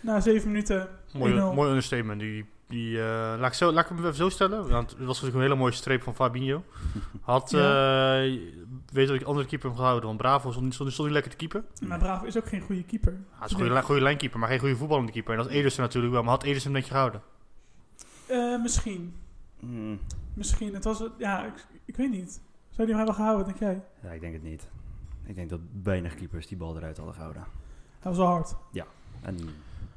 C: Na zeven minuten.
B: Mooi,
C: 1-0.
B: mooi understatement. Die, die, eh, laat, ik zo, laat ik hem even zo stellen. Want het was natuurlijk een hele mooie streep van Fabinho. Had, eh weet dat ik andere keeper hem gehouden. Want Bravo stond niet, stond, niet- stond niet lekker te keeper.
C: Maar Bravo is ook geen goede keeper.
B: Hij is een goede, li- goede lijnkeeper, maar geen goede voetballende keeper. En dat is Ederson natuurlijk wel. Maar had Ederson hem netje gehouden?
C: Eh, misschien.
B: Hmm.
C: Misschien. Het was, het- ja, ik, ik weet niet. Zou die hem hebben gehouden, denk jij?
D: Ja, ik denk het niet. Ik denk dat weinig keepers die bal eruit hadden gehouden.
C: Hij was wel hard.
D: En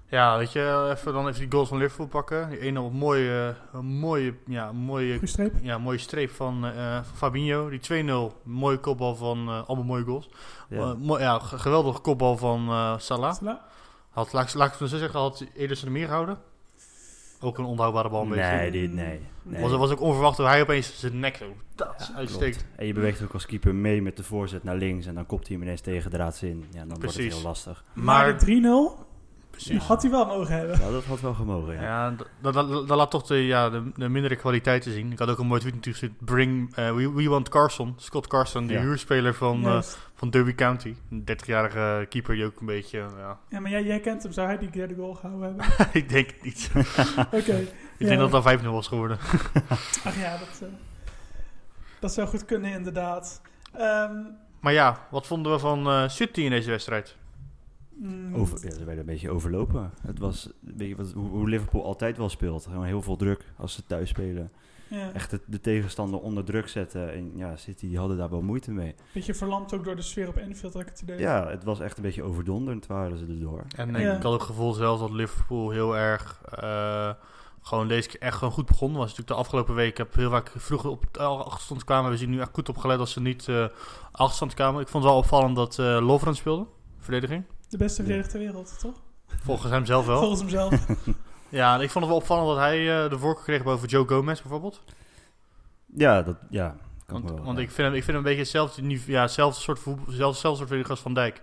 B: Ja, weet je, even, dan even die goals van Liverpool pakken. Die ene op een mooie, een mooie, ja, een mooie,
C: Goede streep.
B: ja, een mooie streep van eh, van Fabinho. Die 2-0, mooie kopbal van, eh, allemaal mooie goals.
D: ja,
B: Eh, mooi- ja, ge- geweldige kopbal van eh, Salah.
C: Salah?
B: Had, laat, ik- laat ik het zo zeggen, had Ederson hem hier gehouden? Ook een onhoudbare bal een beetje.
D: Nee, dit, nee. nee.
B: Was, was ook onverwacht hoe hij opeens zijn nek zo dat,
D: Ja,
B: uitsteekt.
D: klopt. En je beweegt ook als keeper mee met de voorzet naar links. En dan kopt hij hem ineens tegen de raads in. Ja, dan wordt
B: Precies.
D: het heel lastig.
C: Maar,
B: Maar,
C: de 3-0
B: precies.
C: had hij wel mogen hebben.
D: Ja, dat had wel gemogen, ja.
B: Ja, dat, dat, dat- dat laat toch de, ja, de, de mindere kwaliteiten zien. Ik had ook een mooi tweet natuurlijk gezien. Bring, eh, we, we want Carson, Scott Carson, de
D: Ja.
B: huurspeler van, eh,
C: Juist.
B: van Derby County. Een 30-jarige keeper die ook een beetje, ja,
C: Ja, maar jij, jij kent hem. Zou hij die derde goal gehouden hebben?
B: ik denk het niet.
C: Oké.
B: Ik denk dat dat 5-0 was geworden.
C: Ach ja, dat, eh, dat zou goed kunnen inderdaad. Ehm,
B: Maar ja, wat vonden we van eh, City in deze wedstrijd?
C: mm,
D: Over, ja, ze werden een beetje overlopen. Het was, weet je, wat, hoe, hoe Liverpool altijd wel speelt. Gewoon heel veel druk als ze thuis spelen.
C: ja,
D: Echt het- de tegenstander onder druk zetten. En ja, City die hadden daar wel moeite mee.
C: beetje verlamd ook door de sfeer op Enfield, had ik het idee.
D: Ja, het was echt een beetje overdonderend waren ze erdoor.
B: En
C: Ja.
B: ik had ook het gevoel zelfs dat Liverpool heel erg... eh, gewoon deze keer echt gewoon goed begonnen was. Natuurlijk de afgelopen week heb ik heel vaak vroeg op de achterstand kwamen. We zien nu echt goed opgelet dat ze niet eh achterstand kwamen. Ik vond het wel opvallend dat eh Lovren speelde. Verdediging.
C: De beste verdediger ter wereld, toch?
B: Volgens hem zelf wel.
C: Volgens hemzelf.
B: Ja, en ik vond het wel opvallend dat hij eh, de voorkeur kreeg boven Joe Gomez bijvoorbeeld.
D: Ja, dat ja, kan
B: Want,
D: wel.
B: want
D: ja.
B: ik, vind hem, ik vind hem een beetje hetzelfde, niveau- ja, hetzelfde soort voetbal, zelfde, zelfde soort verdediger als Van Dijk.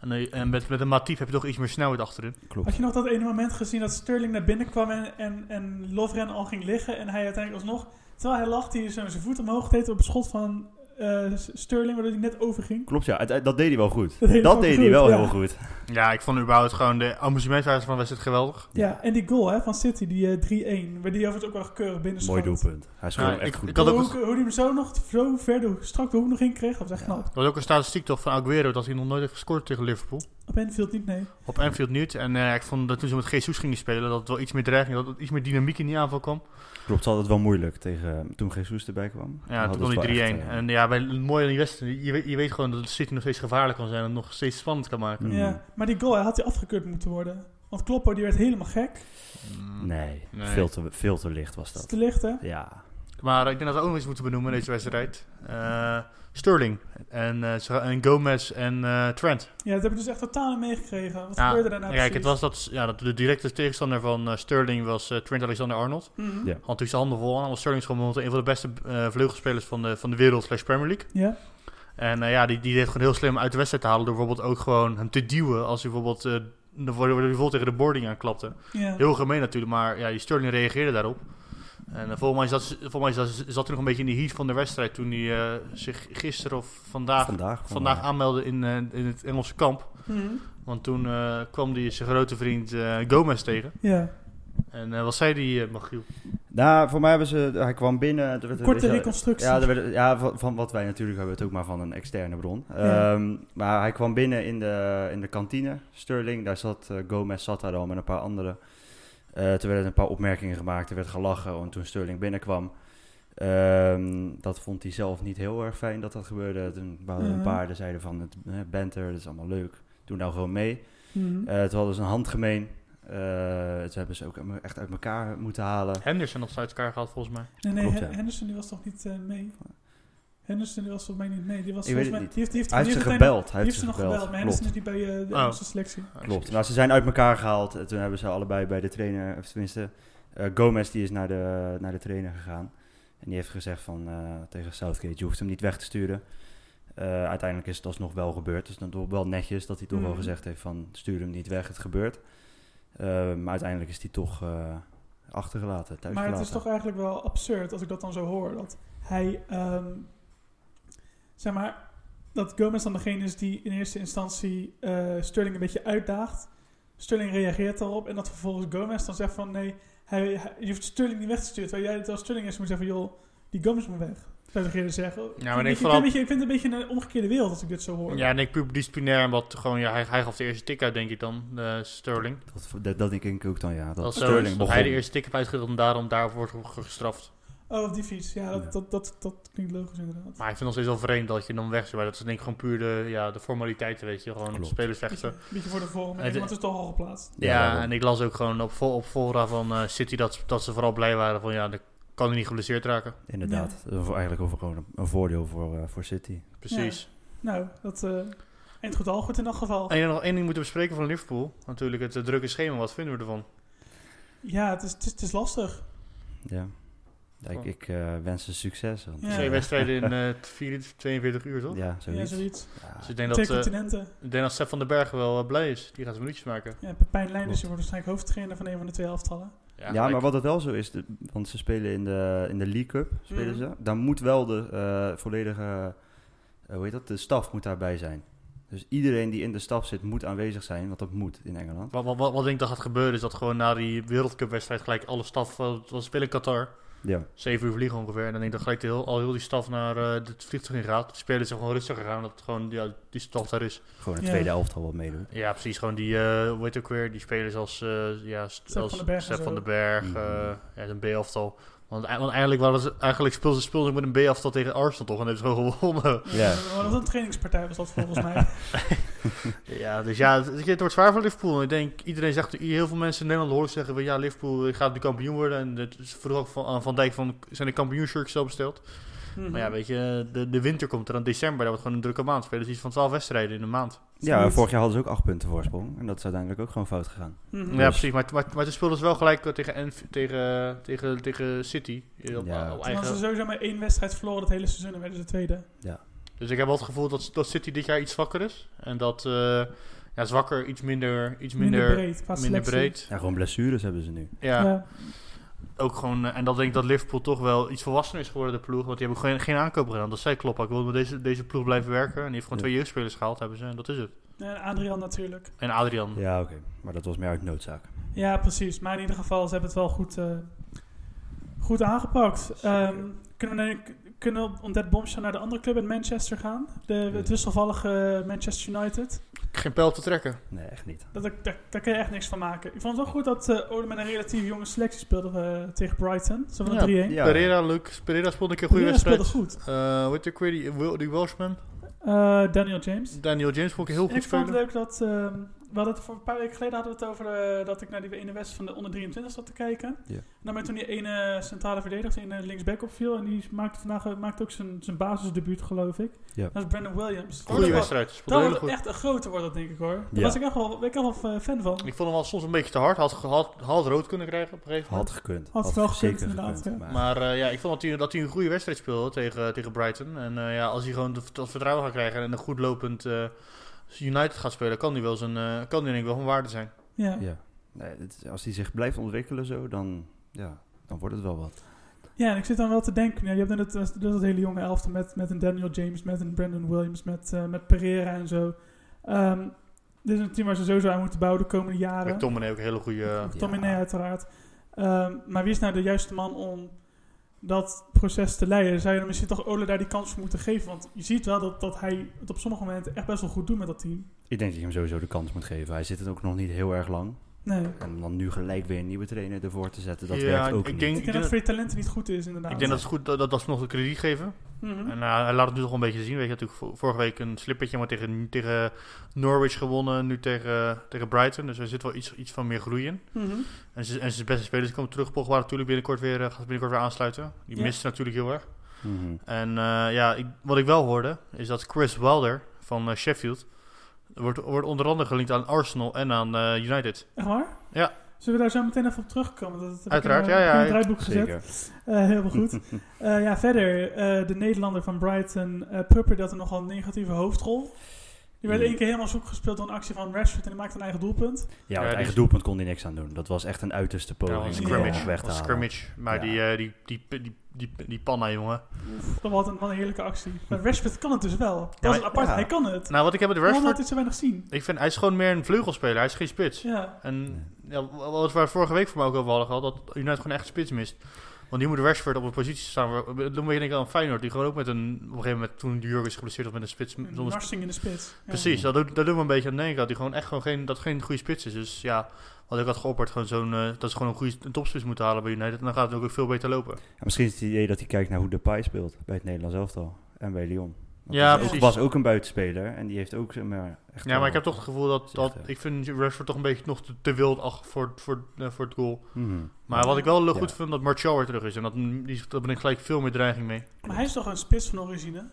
B: En, eh, en met, met een Matief heb je toch iets meer snelheid achterin.
C: Had
D: Klopt.
C: je nog dat ene moment gezien dat Sterling naar binnen kwam en, en, en Lovren al ging liggen en hij uiteindelijk alsnog, terwijl hij lachte, hij zo zijn voet omhoog deed op het schot van eh, Sterling, waardoor hij net overging.
D: Klopt, ja. uite- Dat deed hij wel goed.
C: Dat deed hij
D: Dat
C: wel
D: deed
C: goed,
D: hij wel
C: ja.
D: heel goed.
B: Ja, ik vond überhaupt gewoon de amusementwijze van de wedstrijd geweldig.
C: Ja, en die goal hè, van City, die eh, 3-1, waar die overigens ook wel keurig binnen
D: Mooi doelpunt. Hij schoot
B: Ja,
D: hem echt
B: ik-
D: goed.
B: ik had
C: Hoe,
B: ook-
C: ook, hoe hij hem zo nog zo ver de, strak de hoek nog in kreeg, dat was echt
D: Ja.
C: knap.
B: Er was ook een statistiek toch van Aguero dat hij nog nooit heeft gescoord tegen Liverpool.
C: Op Enfield niet, nee.
B: Op Anfield niet. En eh, ik vond dat toen ze met Jesus gingen spelen, dat het wel iets meer dreiging, dat er iets meer dynamiek in die aanval kwam.
D: Klopt, ze hadden het wel moeilijk tegen, eh, toen Jesus erbij kwam.
B: Ja, toen
D: hadden
B: kwam
D: ze
B: die 3-1.
D: wel echt, eh,
B: En ja, bij het mooie aan die wedstrijd, je, weet- je weet gewoon dat het City nog steeds gevaarlijk kan zijn en het nog steeds spannend kan maken.
D: Mm.
C: Ja, maar die goal hij had hij afgekeurd moeten worden. Want Kloppo die werd helemaal gek.
B: Mm.
D: Nee,
B: Nee.
D: Veel, te, veel te licht was
C: Dat is
D: dat.
C: te licht, hè?
D: Ja,
B: Maar ik denk dat we ook nog iets moeten benoemen in deze wedstrijd. Eh, Sterling en, eh, ze- en Gomez en eh, Trent.
C: Ja, dat heb ik dus echt totaal niet meegekregen. Wat
B: Ja,
C: gebeurde daarna
B: Kijk, het was
C: precies?
B: dat, ja, dat de directe tegenstander van eh, Sterling was eh, Trent Alexander-Arnold.
C: Mhm.
D: Ja.
B: Had natuurlijk zijn handen vol aan, want Sterling is gewoon momenteel een van de beste eh, vleugelspelers van de, van de wereld slash Premier League.
C: Ja.
B: En eh, ja, die, die deed gewoon heel slim uit de wedstrijd te halen door bijvoorbeeld ook gewoon hem te duwen als hij bijvoorbeeld, eh, de- waardoor hij bijvoorbeeld tegen de boarding aanklapte.
C: ja.
B: Heel gemeen natuurlijk, maar ja, die Sterling reageerde daarop. En eh, volgens mij, zat, volgens mij zat, zat hij nog een beetje in de heat van de wedstrijd toen hij eh, zich gisteren of vandaag, vandaag,
D: vandaag.
B: aanmeldde in, eh, in het Engelse kamp.
C: Mhm.
B: Want toen eh, kwam hij zijn grote vriend eh, Gomez tegen.
C: ja.
B: En eh, wat zei die, eh, Machiel?
D: Nou, voor mij hebben ze... Hij kwam binnen. er werd- weet je
C: Korte
D: wel-
C: reconstructie.
D: Ja, er werd- ja van, van wat wij natuurlijk hebben, het ook maar van een externe bron.
C: Ja.
D: Ehm, maar hij kwam binnen in de, in de kantine, Sterling. Daar zat eh, Gomez, zat daar al met een paar anderen. Eh, toen werden een paar opmerkingen gemaakt, er werd gelachen. En toen Sterling binnenkwam, ehm, dat vond hij zelf niet heel erg fijn dat dat gebeurde. Toen waren er een
C: Mhm.
D: paar, die zeiden van, het eh, banter, dat is allemaal leuk. Doe nou gewoon mee.
C: Mhm.
D: Eh toen hadden ze een hand gemeen. Eh, toen hebben ze ook echt uit elkaar moeten halen.
B: Henderson nog uit elkaar gehad volgens mij.
C: nee, nee,
D: klopt,
C: Hen-
D: ja.
C: Henderson die was toch niet eh, mee? Henderson die was volgens mij niet mee. Die was
D: Ik
C: volgens
D: weet
C: mij,
D: het
C: die heeft, die heeft,
D: Hij heeft
C: die
D: ze
C: heeft meteen-
D: gebeld. Hij
C: die heeft
D: heeft ze
C: nog
D: gebeld.
C: gebeld, maar
D: klopt.
C: Henderson is niet bij eh, de
B: Oh.
C: Engelse selectie.
D: Klopt. Nou, ze zijn uit elkaar gehaald. En toen hebben ze allebei bij de trainer, of tenminste, eh, Gomez die is naar de, naar de trainer gegaan. En die heeft gezegd van, eh, tegen Southgate, je hoeft hem niet weg te sturen. Eh, uiteindelijk is het alsnog wel gebeurd. Dus dan toch wel netjes dat hij toch wel
C: Mhm.
D: gezegd heeft van, stuur hem niet weg, het gebeurt. Eh, maar uiteindelijk is die toch eh, achtergelaten, thuisgelaten.
C: Maar het is toch eigenlijk wel absurd als ik dat dan zo hoor. Dat hij, ehm, zeg maar, dat Gomez dan degene is die in eerste instantie eh, Sterling een beetje uitdaagt. Sterling reageert daarop en dat vervolgens Gomez dan zegt van nee, hij, hij- je hoeft Sterling niet weg te sturen. Terwijl jij terwijl Sterling is moet zeggen van joh, die Gomez moet weg. Zou degene zeggen. Ik vind
B: ik
C: het een beetje-
B: vooral-
C: een beetje- ik vind het een beetje een omgekeerde wereld als ik dit zo hoor.
B: Ja, en ik puur disciplinair, omdat gewoon, ja, hij, hij gaf de eerste tik uit, denk ik dan, eh, Sterling.
D: Dat, dat, dat denk ik ook dan, ja. Dat
B: Dat zo
D: Sterling
B: is, dat
D: begon.
B: hij de eerste tik heeft uitgedeeld en daarom daarvoor wordt ge- gestraft.
C: Oh, op die fiets. Ja, dat,
D: Ja.
C: Dat, dat, dat klinkt logisch inderdaad.
B: Maar ik vind het nog steeds wel vreemd dat je hem dan weg zou. Maar dat is denk ik gewoon puur de, ja, de formaliteiten, weet je. Gewoon
D: Klopt.
B: spelers
C: Beetje,
B: vechten.
C: beetje voor de vorm.
B: Het-
C: En iemand is toch al geplaatst.
B: Ja,
D: Ja, daarom.
B: en ik las ook gewoon op, fo- op fora van eh, City dat, dat ze vooral blij waren van, ja, dan kan hij niet geblesseerd raken.
D: Inderdaad. Dat is eigenlijk over gewoon een- een voordeel voor, eh, voor City.
B: Precies.
C: Nou, dat eh eind goed al goed in dat geval.
B: En nog één ding moeten bespreken van Liverpool. Natuurlijk het eh, drukke schema. Wat vinden we ervan?
C: Ja, het is, het is, het is lastig.
D: Ja. Ja, ik
B: Oh.
D: ik eh, wens ze succes. Want,
C: Ja.
D: eh,
B: Twee wedstrijden in eh, 24, 42 uur, toch?
D: Ja,
C: Ja,
D: zoiets.
C: zoiets.
D: Ja.
B: Dus ik denk dat,
C: Twee
B: eh,
C: continenten.
B: ik denk dat Stef van den Berg wel eh, blij is. Die gaat zijn minuutjes maken.
C: Ja, Pepijn Leijnders die wordt waarschijnlijk hoofdtrainer van een van de twee elftallen.
D: Ja, maar wat het wel zo is, de- want ze spelen in de, in de League Cup, spelen
C: Mhm.
D: ze. Dan moet wel de eh, volledige, eh, hoe heet dat, de staf moet daarbij zijn. Dus iedereen die in de staf zit moet aanwezig zijn, want dat moet in Engeland.
B: Wat, wat, wat, wat denk ik dat gaat gebeuren is dat gewoon na die wereldcupwedstrijd gelijk alle staf, eh, wat spelen in Qatar,
D: Ja,
B: zeven uur vliegen ongeveer. En dan denk ik dat gelijk de heel, al heel die staf naar eh, het vliegtuig in gaat. De spelers zijn gewoon rustiger gaan, dat het gewoon ja, die staf daar is.
D: gewoon het
C: Ja.
D: tweede elftal wat meedoet.
B: Ja, precies. Gewoon die, eh hoe heet het ook weer, die spelers als, eh ja, st-
C: Sepp
B: als
C: van den Berg en
B: Sepp
C: zo.
B: van den Berg,
D: Mhm.
B: eh, ja, een B-aftal. Want, ei- want eigenlijk, waren ze, eigenlijk speelden ze speelden ze met een B-aftal tegen Arsenal toch en hebben ze gewoon gewonnen.
D: Ja.
C: Maar Eh, Wat een trainingspartij was dat volgens mij.
B: Ja, dus ja, het, het wordt zwaar voor Liverpool. Ik denk, iedereen zegt, heel veel mensen in Nederland horen zeggen van ja, Liverpool eh, gaat de kampioen worden. En het is vroeg ook van, aan Van Dijk van, zijn de kampioenshirts zo besteld?
C: Mhm.
B: Maar ja, weet je, de, de winter komt er aan december, dat wordt gewoon een drukke maand. Spelen ze iets van 12 wedstrijden in een maand.
D: Ja,
C: Zoiets.
D: vorig jaar hadden ze ook acht punten voorsprong. En dat is uiteindelijk ook gewoon fout gegaan.
C: Mhm.
B: Ja, precies, maar, maar, maar toen speelden ze dus wel gelijk eh, tegen, Enf- tegen, tegen, tegen City. Eh, Op, op
D: Ja.
C: Toen hadden ze
B: eigen.
C: sowieso maar één wedstrijd verloren dat hele seizoen en werden ze tweede.
B: Dus ik heb wel het gevoel dat, dat City dit jaar iets zwakker is. En dat, eh, ja, zwakker, iets minder, iets
C: Minder,
B: minder, minder,
C: breed qua selectie.
B: breed.
D: Ja, gewoon blessures hebben ze nu.
B: Ja.
C: Ja.
B: ook gewoon, eh, en dat denk ik dat Liverpool toch wel iets volwassener is geworden, de ploeg. Want die hebben geen, geen aankoop gedaan. Dat zei Klopp. Ik wil met deze, deze ploeg blijven werken. En die heeft gewoon
D: Ja.
B: twee jeugdspelers gehaald, hebben ze. En dat is het.
C: En Adrian natuurlijk.
B: En Adrian.
D: Ja, oké. Maar dat was meer uit noodzaak.
C: Ja, precies. Maar in ieder geval, ze hebben het wel goed, eh, goed aangepakt. Ehm, kunnen we, dan- kunnen we om dat bombshell naar de andere club in Manchester gaan? De, het wisselvallige Manchester United.
B: Geen pijl op te trekken.
D: Nee, echt niet.
C: Dat, dat- daar, daar kun je echt niks van maken. Ik vond het wel goed dat eh Ode met een relatief jonge selectie speelde eh, tegen Brighton. Ze van
B: Ja,
C: een 3-1.
D: Ja.
B: Pereira, Luke. Pereira speelde een keer een goede
C: Ja,
B: wedstrijd.
C: speelde goed.
B: Eh, hoe heet ook weer die, Wel- die Welshman?
C: Eh, Daniel James.
B: Daniel James vond ik heel
C: En ik
B: goed
C: vond het
B: spelen.
C: leuk dat... ehm, we hadden het voor een paar weken geleden hadden we het over eh, dat ik naar die ene wedstrijd van de onder 23 zat te kijken.
D: Ja.
C: En dan met toen die ene centrale verdediger, die ene linksback opviel. En die maakte vandaag eh, maakte ook zijn, zijn basisdebuut, geloof ik.
D: Ja.
C: Dat is Brandon Williams.
B: Goede
C: dat
B: wedstrijd. Speelde
C: dat
B: heel
C: wordt
B: goed.
C: echt een grote wordt dat, denk ik hoor. Daar
D: Ja.
C: was ik echt wel, ben ik echt wel eh, fan van.
B: Ik vond hem wel soms een beetje te hard. Had, ge- had, had rood kunnen krijgen op een gegeven moment.
D: Had gekund.
C: Had wel gekund,
D: zeker
C: inderdaad,
D: gekund,
C: ja.
D: maar-
B: Maar eh, ja, ik vond dat hij, dat hij een goede wedstrijd speelde tegen, tegen Brighton. En eh, ja, als hij gewoon de- dat vertrouwen gaat krijgen en een goed lopend eh, United gaat spelen, kan hij wel zijn, eh, kan hij denk ik wel van waarde zijn.
C: Ja.
D: Ja. Nee, dit is- als die zich blijft ontwikkelen zo, dan, ja, dan wordt het wel wat.
C: Ja, en ik zit dan wel te denken. Ja, je hebt net dat, dat, dat hele jonge elfte met, met een Daniel James, met een Brandon Williams, met, eh, met Pereira en zo. Ehm, dit is een team waar ze sowieso aan moeten bouwen de komende jaren.
B: McTominay ook een hele goede... eh,
C: Ook Tomine
D: Ja.
C: uiteraard. Ehm, maar wie is nou de juiste man om dat proces te leiden? Zou je dan misschien toch Ole daar die kans voor moeten geven? Want je ziet wel dat, dat hij het op sommige momenten echt best wel goed doet met dat team.
D: Ik denk dat je hem sowieso de kans moet geven. Hij zit het ook nog niet heel erg lang.
C: Nee.
D: En om dan nu gelijk weer een nieuwe trainer ervoor te zetten, dat
B: Ja,
D: werkt ook
B: ik
D: niet.
B: denk-
C: Ik denk dat het voor je talenten niet goed is, inderdaad.
B: ik denk dat het goed dat, dat, dat ze nog de krediet geven.
C: Mhm.
B: En eh, hij laat het nu toch wel een beetje zien. Weet je, natuurlijk vo- vorige week een slippertje maar tegen, tegen Norwich gewonnen, nu tegen, tegen Brighton. Dus er zit wel iets, iets van meer groei in.
C: Mhm.
B: En, ze, en zijn beste spelers komen terug. Pogba natuurlijk binnenkort weer, eh, gaat binnenkort weer aansluiten. Die
C: Ja.
B: mist natuurlijk heel erg.
D: Mhm.
B: En eh, ja, ik, wat ik wel hoorde, is dat Chris Wilder van eh, Sheffield wordt, wordt onder andere gelinkt aan Arsenal en aan eh, United.
C: Echt waar?
B: Ja.
C: Zullen we daar zo meteen even op terugkomen? Dat heb ik in
B: Uiteraard,
C: mijn-
B: ja, ja,
C: in mijn
B: ik-
C: draaiboek gezet.
D: Zeker.
C: Eh, helemaal goed. Eh, ja, verder. eh, de Nederlander van Brighton, eh Pupper, dat een nogal negatieve hoofdrol. Je werd één keer helemaal zoek gespeeld door een actie van Rashford en die maakte een eigen doelpunt.
B: Ja,
F: Ja, het
B: die-
F: eigen doelpunt kon hij niks aan doen. Dat was echt een uiterste
B: Ja,
F: poging.
B: een
F: om
B: Nou, scrimmage.
F: hem eh, weg te
B: een
F: halen.
B: scrimmage. Maar
F: Ja.
B: die, eh, die, die, die, die, die panna, jongen.
C: Dat was een, wat een heerlijke actie. Maar Rashford kan het dus wel. Dat
B: Ja,
C: is
B: maar-
C: apart,
F: ja.
C: hij kan het.
B: Nou, wat ik heb met
C: Waarom
B: Rashford...
C: laat hij zo weinig zien?
B: Ik vind, hij is gewoon meer een vleugelspeler. Hij is geen spits.
C: Ja,
B: En ja, wat we vorige week voor mij ook over hadden gehad, dat United gewoon echt spits mist. Want die moet Rashford op een positie staan. Waar, toen ben ik denk aan Feyenoord, die gewoon ook met een... Op een gegeven moment, toen de Jurgen is geblesseerd, was met een spits
C: een
B: zonder
C: narsing in de spits. Ja.
B: Precies, dat doet, dat doet me een beetje aan denken. Dat hij gewoon echt gewoon geen, dat geen goede spits is. Dus ja, wat ik had geopperd, gewoon zo'n, eh, dat ze gewoon een goede een topspits moeten halen bij United. En dan gaat het ook veel beter lopen.
F: Ja, misschien is het idee dat hij kijkt naar hoe Depay speelt bij het Nederlands elftal en bij Lyon. Want
B: Ja,
F: die
B: precies.
F: was ook een buitenspeler en die heeft ook zeg maar, echt
B: Ja, maar
F: wel-
B: ik heb toch het gevoel dat,
F: Zegt,
B: dat
F: eh.
B: ik vind Rashford toch een beetje nog te, te wild ach, voor, voor, eh, voor het goal.
F: Mhm.
B: Maar wat ik wel goed
F: Ja.
B: vind, dat Martial weer terug is. En dat, die, daar ben ik gelijk veel meer dreiging mee.
C: Maar hij is toch een spits van origine?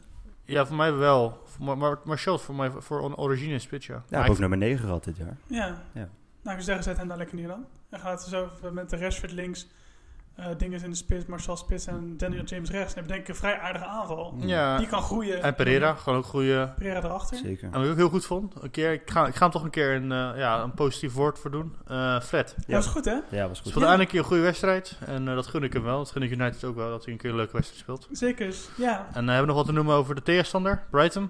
B: Ja, voor mij wel. Voor- Maar, maar Martial is voor mij voor een origine spits, ja.
F: Ja,
B: Maar
F: hij
B: ik-
F: heeft ook nummer 9 gehad dit jaar.
C: Ja.
F: Ja.
C: Nou, ik zou zeggen, zet hem daar lekker neer dan. En gaat zo met de Rashford links, eh Dinges in de spits, Marcel spits en Daniel James rechts. Dan heb je denk ik een vrij aardige aanval. Die
B: ja.
C: kan groeien.
B: En Pereira, gewoon ook goede
C: Pereira erachter.
F: Zeker.
B: En wat ik ook heel goed vond, een keer, ik, ga, ik ga hem toch een keer een, eh, ja, een positief woord voor doen. Eh Fred.
C: Ja, Dat is goed hè?
F: Ja, was
B: Hij
F: goed.
B: speelde eindelijk een keer een goede wedstrijd. En eh, dat gun ik hem wel. Dat gun ik United ook wel, dat hij een keer een leuke wedstrijd speelt.
C: Zeker, ja.
B: En eh, hebben we nog wat te noemen over de tegenstander, Brighton.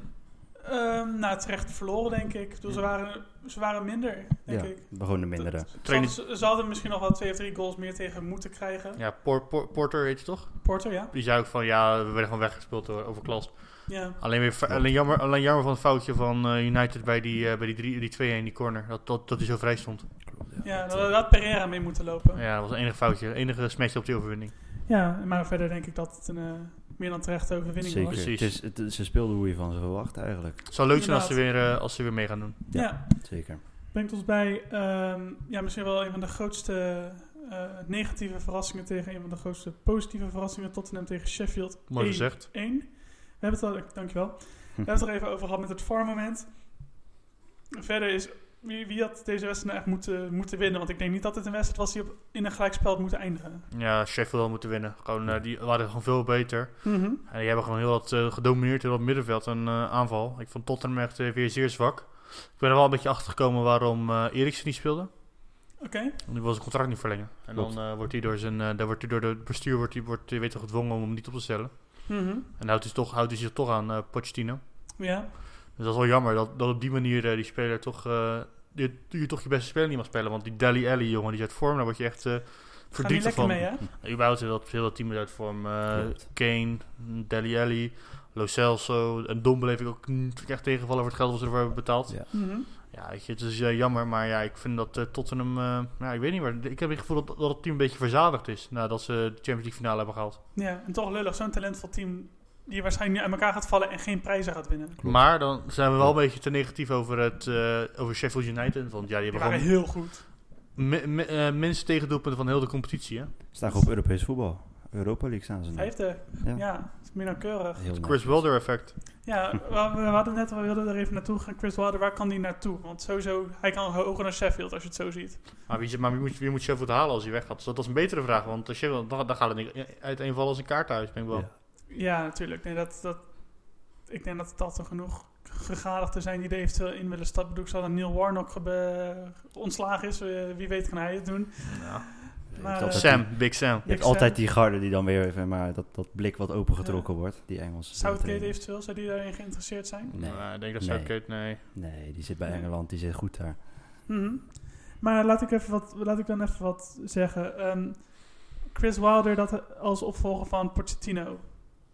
C: Ehm nou, terecht verloren denk ik. Ik bedoel, ze, waren, ze waren minder, denk
F: Ja,
C: ik.
F: gewoon de mindere.
C: Dat- Ze
B: Trainer-
C: hadden, ze hadden misschien nog wel twee of drie goals meer tegen moeten krijgen.
B: Ja, Por- Por- Porter heet je toch?
C: Porter, ja.
B: Die zei ook van, ja, we werden gewoon weggespeeld door overklast.
C: ja.
B: Alleen, weer, fa- alleen, jammer, alleen jammer van het foutje van eh, United bij die, eh, bij die, drie- die 2-1 in die corner. Dat, dat, dat hij zo vrij stond.
C: Ja, daar daar had Pereira mee moeten lopen. Ja.
B: Ja, dat was het enige foutje. Het enige smetje op die overwinning.
C: maar verder denk ik dat het een eh, meer dan terechte overwinning
F: Zeker.
C: was.
B: Precies.
F: Het is, het- ze speelden hoe je van ze verwacht eigenlijk.
B: Het zou leuk zijn als ze, weer, eh, als ze weer mee gaan doen.
F: Ja.
C: ja.
F: Zeker.
C: Brengt ons bij ehm, ja, misschien wel een van de grootste eh, negatieve verrassingen tegen een van de grootste positieve verrassingen. Tottenham tegen Sheffield.
B: Mooi
C: 1-1.
B: gezegd.
C: We hebben het al, dankjewel. We hebben het er even over gehad met het VAR-moment. Verder is, wie, wie had deze wedstrijd nou echt moeten, moeten winnen? Want ik denk niet dat het een wedstrijd was die op, in een gelijkspel had moeten eindigen.
B: Ja, Sheffield had moeten winnen. Gewoon, eh, die waren gewoon veel beter.
C: Mhm,
B: En die hebben gewoon heel wat eh, gedomineerd in dat middenveld en eh, aanval. Ik vond Tottenham echt eh, weer zeer zwak. Ik ben er wel een beetje achter gekomen waarom eh Eriksen niet speelde.
C: Oké,
B: Want die wil zijn contract niet verlengen. En
F: Klopt.
B: dan eh, wordt hij door zijn, eh, dan wordt hij door het bestuur wordt hij, wordt, hij weet toch gedwongen om hem niet op te stellen.
C: Mhm.
B: En houdt hij, toch, houdt hij zich toch aan eh Pochettino.
C: ja.
B: Dus dat is wel jammer dat, dat op die manier eh, die speler toch, eh, je, je toch je beste speler niet mag spelen. Want die Dally Alley jongen, die is uit vorm. Daar word je echt eh
C: Gaan niet
B: verdrietig
C: lekker
B: van.
C: mee, hè?
B: Überhaupt heel dat, heel dat team is uit vorm. Eh,
F: Klopt.
B: Kane, Deli Alli, Lo Celso. En Dom bleef ik ook niet echt tegenvallen voor het geld wat ze ervoor hebben betaald. Ja,
F: Ja.
C: Mhm.
B: weet je, het is eh, jammer. Maar ja, ik vind dat eh, Tottenham... eh, ja, ik weet niet waar. Ik heb het gevoel dat, dat het team een beetje verzadigd is. Nadat ze de Champions League finale hebben gehaald.
C: Ja, en toch lullig, zo'n talentvol team die waarschijnlijk nu uit elkaar gaat vallen en geen prijzen gaat winnen.
F: Klopt.
B: Maar dan zijn we wel een beetje te negatief over, het, eh, over Sheffield United. Want ja, die hebben
C: Die waren
B: gewoon
C: heel goed.
B: mi- mi- eh, minste tegendoelpunten van heel de competitie. Hè?
F: Staan gewoon op Europees voetbal. Europa League staan ze nu.
C: Vijfde. Ja,
F: Ja.
C: dat is meer dan keurig.
F: Heel
B: Chris
F: netjes.
B: Wilder effect.
C: Ja, we, we hadden net, we wilden er even naartoe gaan. Chris Wilder, waar kan die naartoe? Want sowieso, hij kan hoger dan Sheffield als je het zo ziet.
B: Maar wie, maar wie, moet, wie moet Sheffield halen als hij weg gaat? Dus Dat is een betere vraag, want als Sheffield, dan, dan gaat het niet uiteenvallen als een kaarthuis, ben ik wel.
F: Ja.
C: Ja, natuurlijk. Nee, dat, dat, ik denk dat dat er genoeg gegadigden zijn die er eventueel in willen stappen. Ik bedoel, Ik zal dat Neil Warnock gebe- ontslagen is. Eh, Wie weet kan hij het doen.
F: Je
C: Maar,
F: hebt
C: eh,
F: altijd die-
B: Sam, Big Sam.
F: Je hebt
C: Sam.
F: altijd die garde die dan weer even, maar dat, dat blik wat opengetrokken wordt, die Engelse.
C: Southgate
F: trainer.
C: eventueel, zou die daarin geïnteresseerd zijn?
F: Nee,
B: Nou, ik denk dat
F: Nee.
B: Southgate, nee.
F: nee, die zit bij
C: Nee.
F: Engeland, die zit goed daar.
C: Mhm. Maar laat ik, even wat, laat ik dan even wat zeggen. Ehm, Chris Wilder dat als opvolger van Pochettino.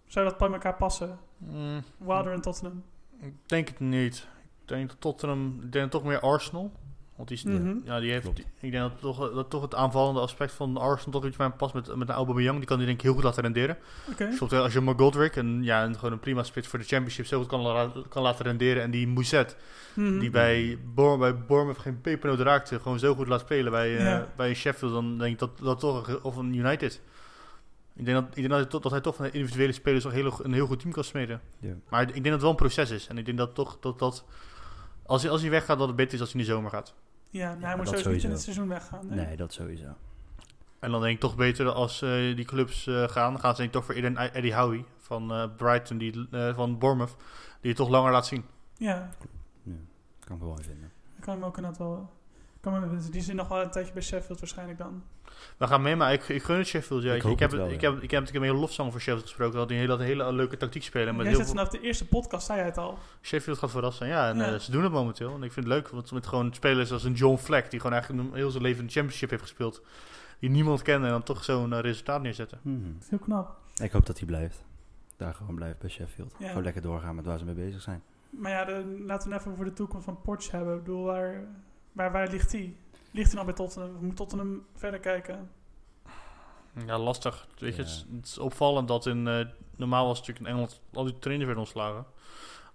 C: Zou dat bij elkaar passen?
B: Mm,
C: Wilder en Tottenham.
B: ik denk het niet. Ik denk dat Tottenham, ik denk toch meer Arsenal. Want die, is-
C: Mhm.
B: ja, die heeft,
F: Klopt.
B: ik denk dat toch, dat toch het aanvallende aspect van Arsenal toch iets bij hem past met, met een Aubameyang. Die kan die denk ik heel goed laten renderen.
C: Oké.
B: Dus bijvoorbeeld als je McGoldrick, een, ja, een, gewoon een prima spits voor de championship, zo goed kan, la- kan laten renderen. En die Mousset,
C: Mhm.
B: die bij, Bourne, bij Bournemouth geen pepernoot raakte, gewoon zo goed laat spelen bij, eh,
C: Ja.
B: bij Sheffield, dan denk ik dat, dat toch, een ge- of een United. Ik denk, dat, ik denk dat, hij toch- dat hij toch van de individuele spelers toch heel, een heel goed team kan smeden.
F: Ja.
B: Maar ik denk dat het wel een proces is. En ik denk dat toch dat, dat als, hij, als hij weggaat, dat het beter is als hij in de zomer gaat.
C: Ja, nou, hij
F: Ja,
C: moet
F: dat
C: sowieso niet in
F: sowieso.
C: het seizoen weggaan.
F: Nee, dat sowieso.
B: En dan denk ik toch beter als eh, die clubs eh, gaan, dan gaan ze denk ik toch voor Eden, Eddie Howie van eh, Brighton, die, eh, van Bournemouth, die het toch langer laat zien.
C: Ja,
D: Ja, kan ik me wel in vinden.
C: Ik kan hem ook inderdaad wel... ik Kan me, die zit nog wel een tijdje bij Sheffield waarschijnlijk dan.
B: We gaan mee, maar ik, ik gun het Sheffield. Ja.
F: Ik
B: Ik,
F: hoop
B: ik heb,
F: het wel,
B: ik,
F: ja.
B: heb, ik heb natuurlijk een hele lofzang voor Sheffield gesproken. Dat die hele, dat hele leuke tactiek spelen. Met
C: Jij
B: heel
C: zit
B: veel,
C: vanaf de eerste podcast, zei hij het al.
B: Sheffield gaat verrast zijn. Ja, en
C: Ja.
B: eh, ze doen het momenteel. En ik vind het leuk, want met gewoon spelers als een John Fleck. Die gewoon eigenlijk een- heel zijn leven in de championship heeft gespeeld. Die niemand kende en dan toch zo'n eh, resultaat neerzetten.
F: Mhm.
C: Dat is heel knap.
F: Ik hoop dat hij blijft. Daar gewoon blijft bij Sheffield.
C: Ja.
F: Gewoon lekker doorgaan met waar ze mee bezig zijn.
C: Maar ja, de- laten we het even voor de toekomst van Porsche hebben. Ik bedoel, waar, waar, waar ligt die? Ligt hij nou bij Tottenham? We moeten Tottenham verder kijken.
B: Ja, lastig. Weet je,
F: Ja.
B: het, is, het is opvallend dat in... eh, normaal was het natuurlijk in Engeland al die trainers werden ontslagen.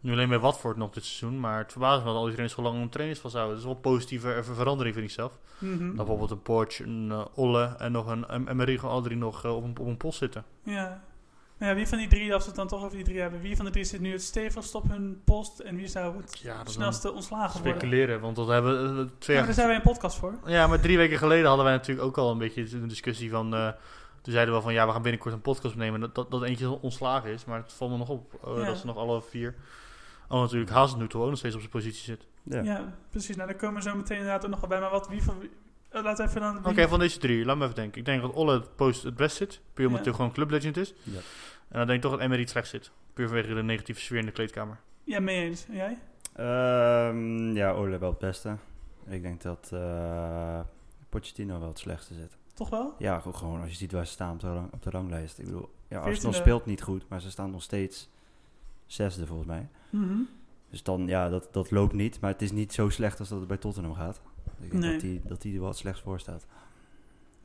B: Nu alleen bij Watford nog dit seizoen. Maar het verbaast me dat al die trainers gewoon lang om trainers vasthouden. Dat is wel een positieve eh, verandering, vind ik zelf.
C: Mhm.
B: Dat bijvoorbeeld een Porsche, een eh, Olle en nog een M- Emery gewoon al drie nog eh, op, een, op een post zitten.
C: Ja. Nou ja, wie van die drie, als we het dan toch over die drie hebben, wie van de drie zit nu het stevigst op hun post en wie zou het
B: Ja, dat
C: snelste ontslagen worden?
B: speculeren, want dat hebben we eh, twee
C: Ja, maar
B: jaar...
C: daar zijn wij een podcast voor.
B: Ja, maar drie weken geleden hadden wij natuurlijk ook al een beetje een discussie van... eh, toen zeiden we van, ja, we gaan binnenkort een podcast opnemen. Dat, dat, dat eentje ontslagen is, maar het valt me nog op eh,
C: Ja.
B: dat ze nog alle vier... Oh, natuurlijk, Hazen nu toch ook nog steeds op zijn positie zit.
F: Ja.
C: Ja, precies. Nou, daar komen we zo meteen inderdaad ook nog wel bij. Maar wat, wie van... wie- eh, Laten we even dan...
B: Oké, van deze drie, laat me even denken. Ik denk dat Olle het post het best zit, puur omdat
C: Ja.
B: hij gewoon clublegend is.
F: Ja.
B: En dan denk ik toch dat Emery het slecht zit, puur vanwege de negatieve sfeer in de kleedkamer.
C: Ja, mee eens. En jij?
F: Ehm, ja, Ole wel het beste. Ik denk dat eh Pochettino wel het slechtste zit.
C: Toch wel?
F: Ja, go- gewoon als je ziet waar ze staan op de, rang- op de ranglijst. Ik bedoel, ja, Arsenal
C: Veertiende.
F: speelt niet goed, maar ze staan nog steeds zesde volgens mij.
C: Mhm.
F: Dus dan, ja, dat, dat loopt niet. Maar het is niet zo slecht als dat het bij Tottenham gaat. Ik denk
C: Nee.
F: dat die, dat die er wel slechts voor staat.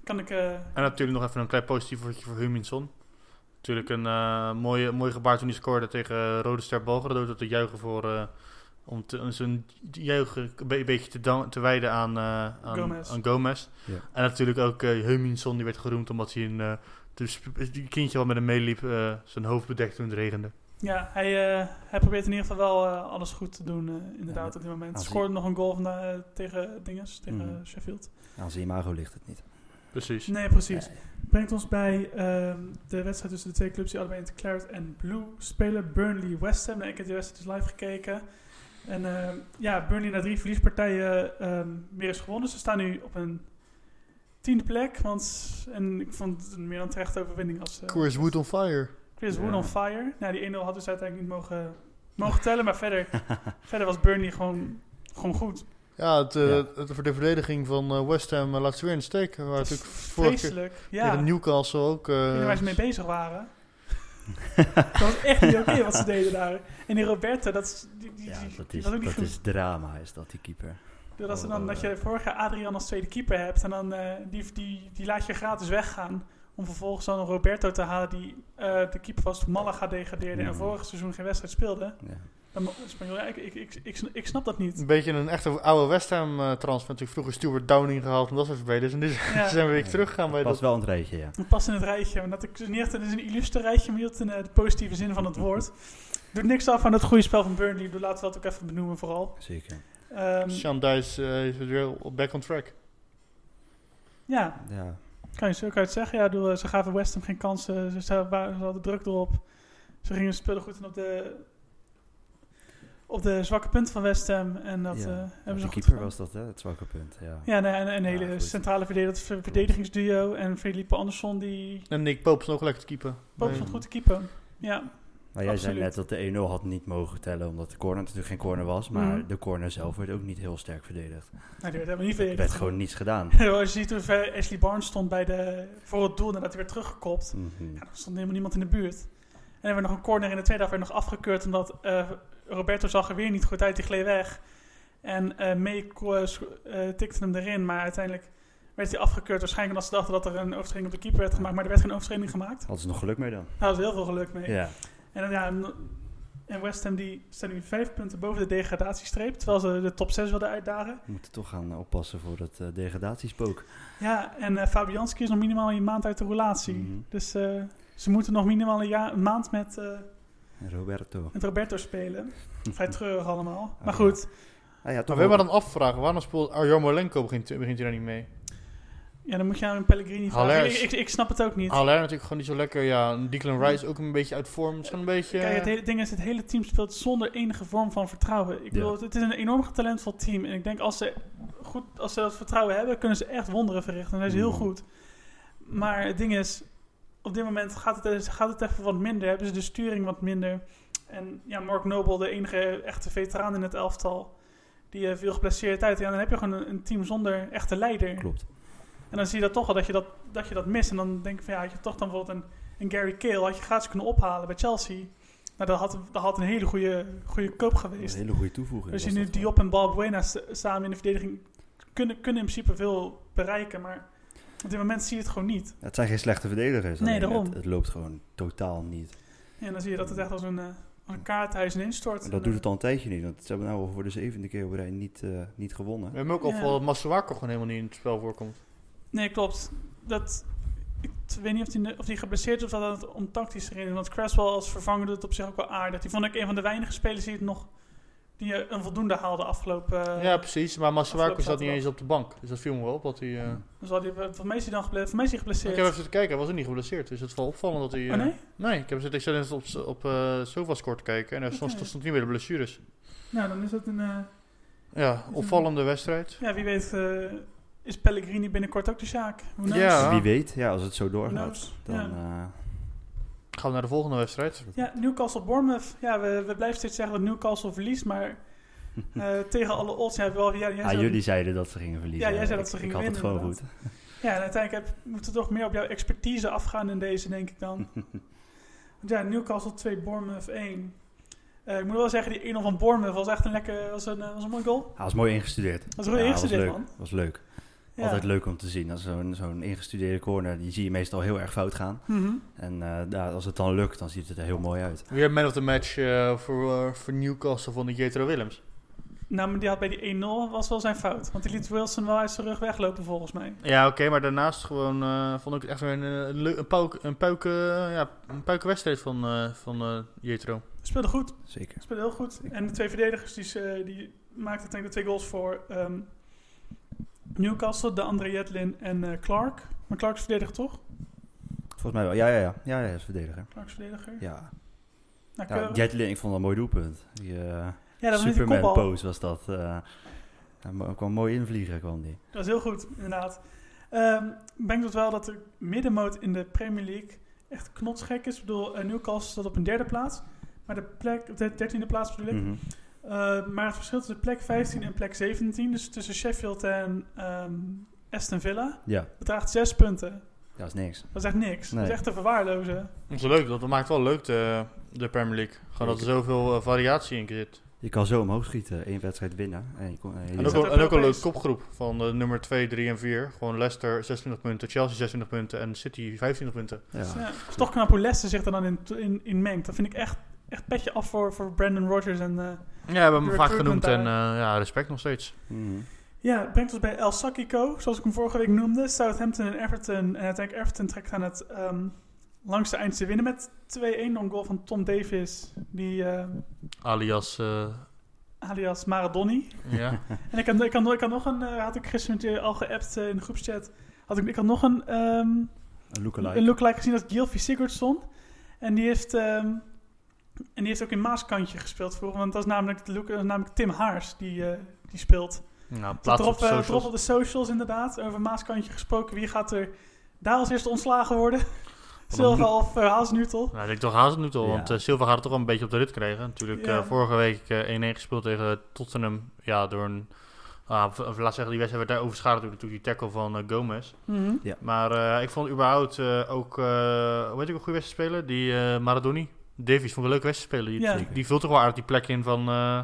C: Kan ik... eh,
B: En natuurlijk nog even een klein positief woordje voor Huminson. Natuurlijk een eh mooie, mooi gebaar toen hij scoorde tegen eh, Rode Ster Belgrado. Dat te juichen voor... eh, om, te, om zijn juichen een be- beetje te, dan- te wijden aan, eh, aan
C: Gomez.
B: Aan Gomez.
F: Ja.
B: En natuurlijk ook eh Heuminson, die werd geroemd omdat hij een... eh, de sp- die kindje wat met hem meeliep, eh, zijn hoofd bedekte toen het regende.
C: ja, hij, eh, hij probeert in ieder geval wel eh, alles goed te doen, eh, inderdaad,
F: maar
C: op dit moment.
F: als hij-
C: Scoorde nog een goal vandaag, eh, tegen Dinges, tegen
F: Mhm.
C: eh, Sheffield.
F: Aan zijn imago ligt het niet.
B: Precies.
C: Nee, precies. Brengt ons bij ehm, de wedstrijd tussen de twee clubs die allebei in het Claret en Blue spelen. Burnley West Ham. Nou, ik heb die wedstrijd dus live gekeken. En ehm, ja, Burnley na drie verliespartijen ehm weer is gewonnen. Ze staan nu op een tiende plek. Want, en ik vond het een meer dan terechte overwinning als eh,
B: Chris Wood on fire.
C: Chris
F: Ja.
C: Wood on fire. Nou, die 1-0 had dus uiteindelijk niet mogen, mogen tellen. Maar verder, verder was Burnley gewoon, gewoon goed.
B: Ja, het,
F: eh, Ja.
B: voor de verdediging van eh, West Ham laat ze weer in de steek. Waar natuurlijk
C: Vreselijk. Ja, ik
B: Newcastle ook... eh,
C: weet niet waar ze mee bezig waren. dat was echt niet oké wat ze deden daar. En die Roberto, dat, is, die, die,
F: Ja,
C: die-
F: dat
C: die
F: is,
C: was ook niet
F: dat
C: goed.
F: is eh, drama, is dat die keeper.
C: dat, ze dan, dat je vorig jaar Adrian als tweede keeper hebt. En dan eh, die, die, die laat je gratis weggaan. Om vervolgens dan een Roberto te halen die eh, de keeper was toen Malaga degradeerde. En
F: Mhm.
C: vorig seizoen geen wedstrijd speelde.
F: Ja.
C: Dan, mo- Spanjool, ja, ik, ik, ik, ik, ik snap dat niet.
B: Een beetje een echte oude West Ham eh, transfer. Natuurlijk vroeger Stuart Downing gehaald en dat soort spelers. En dus
C: Ja.
B: zijn we weer
F: Ja.
B: teruggegaan bij
F: Pas
B: dat.
F: wel aan het rijtje, ja.
C: Het past in het rijtje. want dat ik dus niet echt, het is een illustre rijtje, maar niet in eh, de positieve zin van het woord. Doet niks af aan het goede spel van Burnley. Ik bedoel, Laten we dat ook even benoemen vooral.
F: Zeker.
C: Ehm,
B: Sean Dice eh, is weer op- back on track.
C: ja,
F: Ja,
C: kan je zo kan je het zeggen. Ja, ik bedoel, eh, ze gaven West Ham geen kansen. Ze, ze, waren- ze hadden druk erop. Ze gingen spelen goed in op de, op de zwakke punten van West Ham. En dat
F: Ja.
C: eh, hebben ze
F: de
C: goed
F: keeper
C: gedaan.
F: was dat, hè? Het zwakke punt, ja.
C: Ja, nee, en en een
F: Ja,
C: hele
F: goed.
C: centrale verdedig- dat ver- verdedigingsduo. En Felipe Andersson, die
B: En Nick Pope is nog lekker te keeper.
C: ook
B: Nee.
C: van goed te keepen. Ja,
F: Maar Nou, jij
C: absoluut.
F: zei net dat de 1-0 had niet mogen tellen, omdat de corner natuurlijk geen corner was. Maar
C: Mhm.
F: de corner zelf werd ook niet heel sterk verdedigd.
C: nou, die werd helemaal niet
F: Er werd
C: verdedigd.
F: gewoon niets gedaan.
C: Als je ziet hoe ver Ashley Barnes stond bij de, voor het doel nadat hij werd teruggekopt.
F: Mhm.
C: Ja, er stond helemaal niemand in de buurt. En er werd nog een corner in de tweede helft werd nog afgekeurd. Omdat eh, Roberto zag er weer niet goed uit. Die gleed weg. En eh May ko- eh, scho- eh, tikte hem erin. Maar uiteindelijk werd hij afgekeurd. Waarschijnlijk omdat ze dachten dat er een overtreding op de keeper werd gemaakt. Maar er werd geen overtreding gemaakt.
F: Hadden ze nog geluk mee dan?
C: Daar was heel veel geluk mee.
F: Ja.
C: En, dan, ja, en- en West Ham die staan nu vijf punten boven de degradatiestreep. Terwijl ze de top 6 wilden uitdagen.
F: We moeten toch gaan eh, oppassen voor het eh, degradatiespook.
C: Ja, en eh, Fabianski is nog minimaal een maand uit de relatie.
F: Mhm.
C: Dus eh, ze moeten nog minimaal een, jaar, een maand met, eh,
F: Roberto.
C: met Roberto spelen. Vrij treurig allemaal.
F: Ah,
C: maar
F: ja.
C: goed,
F: Ah, ja,
B: Maar
F: toch
B: we hebben
F: wel-
B: dan afvragen, waarom speelt Arjomolenko begint, begint hij daar niet mee?
C: Ja, dan moet je aan Pellegrini vragen. Ik,
B: Haller is-
C: ik, ik snap het ook niet.
B: Haller natuurlijk gewoon niet zo lekker. Ja, en Declan Rice ook een beetje uit vorm. Misschien een beetje...
C: Kijk, het hele ding is, het hele team speelt zonder enige vorm van vertrouwen. Ik bedoel, het is een enorm talentvol team. En ik denk, als ze, goed, als ze dat vertrouwen hebben, kunnen ze echt wonderen verrichten. En dat is heel
F: Mhm.
C: goed. Maar het ding is, op dit moment gaat het, gaat het even wat minder. Hebben ze de sturing wat minder. En ja, Mark Noble, de enige echte veteraan in het elftal, die eh, viel geblesseerd uit. Ja, dan heb je gewoon een, een team zonder echte leider.
F: Klopt.
C: En dan zie je dat toch wel dat je dat, dat, je dat mist. En dan denk ik van ja, had je toch dan bijvoorbeeld een, een Gary Cale, had je gratis kunnen ophalen bij Chelsea. Nou, dat had, dat had een hele goede, goede koop
F: Dat is
C: geweest.
F: een hele goede toevoeging.
C: Dus je
F: was
C: nu
F: dat wel.
C: Diop en Balbuena s- samen in de verdediging kunnen, kunnen in principe veel bereiken. Maar op dit moment zie je het gewoon niet.
F: Ja, Het zijn geen slechte verdedigers.
C: Nee,
F: alleen
C: daarom.
F: Het, het loopt gewoon totaal niet.
C: En dan zie je dat het echt als een, eh, als een kaarthuis instort.
F: En dat doet het al een tijdje niet. Want ze hebben nou al voor de zevende keer op rij niet, eh, niet gewonnen.
B: We hebben ook al
C: Ja.
B: voor dat Masuaku gewoon helemaal niet in het spel voorkomt.
C: Nee, klopt. Dat, ik t- weet niet of die, of die geblesseerd is of dat het om tactische redenen. Want Creswell als vervanger doet het op zich ook wel aardig. Die vond ik een van de weinige spelers die het nog die eh, een voldoende haalde afgelopen. eh,
B: ja, precies. Maar Masuaku
C: afgelopen
B: zat niet eens
C: zaterdag.
B: op de bank. Dus dat viel me wel op. Dat hij, eh,
F: Ja.
C: Dus had die, eh, voor mij is hij dan geble- voor mij is hij
B: Ik
C: geblesseerd.
B: heb even zitten kijken. Hij was ook niet geblesseerd. Dus het is wel opvallend dat hij... eh,
C: oh nee?
B: Nee, ik heb zitten, ik zat net op, s- op eh Sofascore te kijken. En daar stond,
C: Oké.
B: stond niet meer de blessures.
C: Nou, dan is dat een. eh,
B: Ja, opvallende wedstrijd.
C: ja, wie weet eh, is Pellegrini binnenkort ook de Sjaak. Who knows?
B: Ja.
F: Dus Wie weet, ja, als het zo
C: Who
F: doorgaat,
C: knows?
F: dan...
C: Nou, ja.
F: eh,
B: Gaan we naar de volgende wedstrijd.
C: Ja, Newcastle Bournemouth. Ja, we, we blijven steeds zeggen dat Newcastle verliest, maar eh, tegen alle odds. Ja, wel, ja, jij
F: ah,
C: zei-
F: jullie zeiden dat ze gingen verliezen.
C: Ja, jij zei dat
F: Ik-
C: ze
F: ik had
C: gingen
F: het
C: winnen,
F: gewoon goed.
C: Ja, en uiteindelijk heb, moeten we toch meer op jouw expertise afgaan in deze, denk ik dan. Want ja, Newcastle 2, Bournemouth 1. Eh, ik moet wel zeggen, die 1-0 van Bournemouth was echt een lekker, was een, eh, was een mooi goal.
F: Hij was mooi ingestudeerd.
C: was goed ingestudeerd,
F: leuk.
C: man.
F: was leuk.
C: Ja.
F: Altijd leuk om te zien. Als Zo'n zo'n ingestudeerde corner, die zie je meestal heel erg fout gaan.
C: Mhm.
F: En eh, ja, als het dan lukt, dan ziet het er heel mooi uit.
B: Weer man of the match eh, voor, eh, voor Newcastle van de Jetro Willems.
C: Nou, maar die had bij die 1-0 was wel zijn fout. Want die liet Wilson wel uit zijn rug weglopen, volgens mij.
B: Ja, oké, maar daarnaast gewoon eh, vond ik het echt weer een, eh, leu- een, puik, een, puiken, eh, ja, een puiken wedstrijd van, eh, van eh, Jetro.
C: Speelde goed.
F: Zeker.
C: Speelde heel goed. En de twee verdedigers die, eh, die maakten denk ik de twee goals voor ehm, Newcastle, de André Jetlin en eh, Clark. Maar Clark is verdediger toch?
F: Volgens mij wel. Ja, ja, ja. Ja, ja, als verdediger.
C: Clark is verdediger.
F: Ja.
C: Nou,
F: ja
C: keurig.
F: Jetlin, ik vond dat een mooi doelpunt. Die, eh,
C: ja, dat was met die
F: Superman
C: kopbal.
F: pose was dat. eh. hij mo- kwam mooi invliegen, kwam die.
C: Dat is heel goed, inderdaad. Ehm, ik denk dat wel dat de middenmoot in de Premier League echt knotsgek is. Ik bedoel, eh, Newcastle staat op een derde plaats. Maar de plek, op de dertiende plaats bedoel ik.
D: Hmm.
F: Mhm.
C: Eh, maar het verschil tussen plek 15 en plek 17, dus tussen Sheffield en ehm, Aston Villa,
F: Ja,
C: bedraagt 6 punten.
F: dat is niks.
C: Dat is echt niks. Dat
F: Nee.
C: is echt te verwaarlozen.
B: Dat is leuk, want dat maakt wel leuk de, de Premier League. Gewoon dat er zoveel eh, variatie in zit.
F: Je kan zo omhoog schieten, één wedstrijd winnen. En je kon, en je-
B: En ook,
C: zat
B: wel- en
C: ook
B: ook een leuke
C: Europees.
B: kopgroep van eh, nummer 2, 3 en 4. Gewoon Leicester 26 punten, Chelsea 26 punten en City 25 punten.
C: Dus,
F: ja.
C: ja, het is toch knap hoe Leicester zich er dan in, in, in mengt. Dat vind ik echt, echt petje af voor, voor Brandon Rodgers. En, eh,
B: Ja, we hebben hem
C: Door
B: vaak
C: Turk
B: genoemd
C: bent
B: en eh, ja, respect nog steeds.
F: Mhm.
C: ja, het brengt ons bij El Sakiko, zoals ik hem vorige week noemde. Southampton en Everton. En uiteindelijk Everton trekt aan het ehm, langste eind te winnen met 2-1. Door een goal van Tom Davis, die eh,
B: Alias, eh,
C: alias Maradoni.
B: ja.
C: En ik had, ik had, ik had nog een, eh, had ik gisteren met je al geappt eh, in de groepschat. Had ik, ik had nog een, ehm
F: Een lookalike.
C: een lookalike gezien dat Gylfi Sigurdsson. En die heeft, ehm, en die heeft ook in Maaskantje gespeeld vroeger. Want dat is namelijk, de look, dat is namelijk Tim Haars die, eh, die speelt.
B: nou,
C: Drop
B: plaats op de
C: eh,
B: socials.
C: drop op de socials inderdaad. Over Maaskantje gesproken. Wie gaat er daar als eerste ontslagen worden? Silva of uh, Haasnutel?
B: Nou, ik denk toch Hazen nu al,
F: Ja.
B: want eh, Silva gaat het toch wel een beetje op de rit krijgen. Natuurlijk
C: Ja.
B: eh, vorige week eh, 1-1 gespeeld tegen Tottenham. Ja, door een, ah, of, of laat zeggen, die wedstrijd werd daar overschaduwd door natuurlijk die tackle van eh, Gomez. Maar eh, ik vond überhaupt eh, ook, eh hoe heet ik een goede wedstrijd spelen? Die eh, Maradoni. Davies vond ik een leuke wedstrijd spelen. Die,
C: Ja.
B: die, die vult toch wel aardig die plek in van, eh,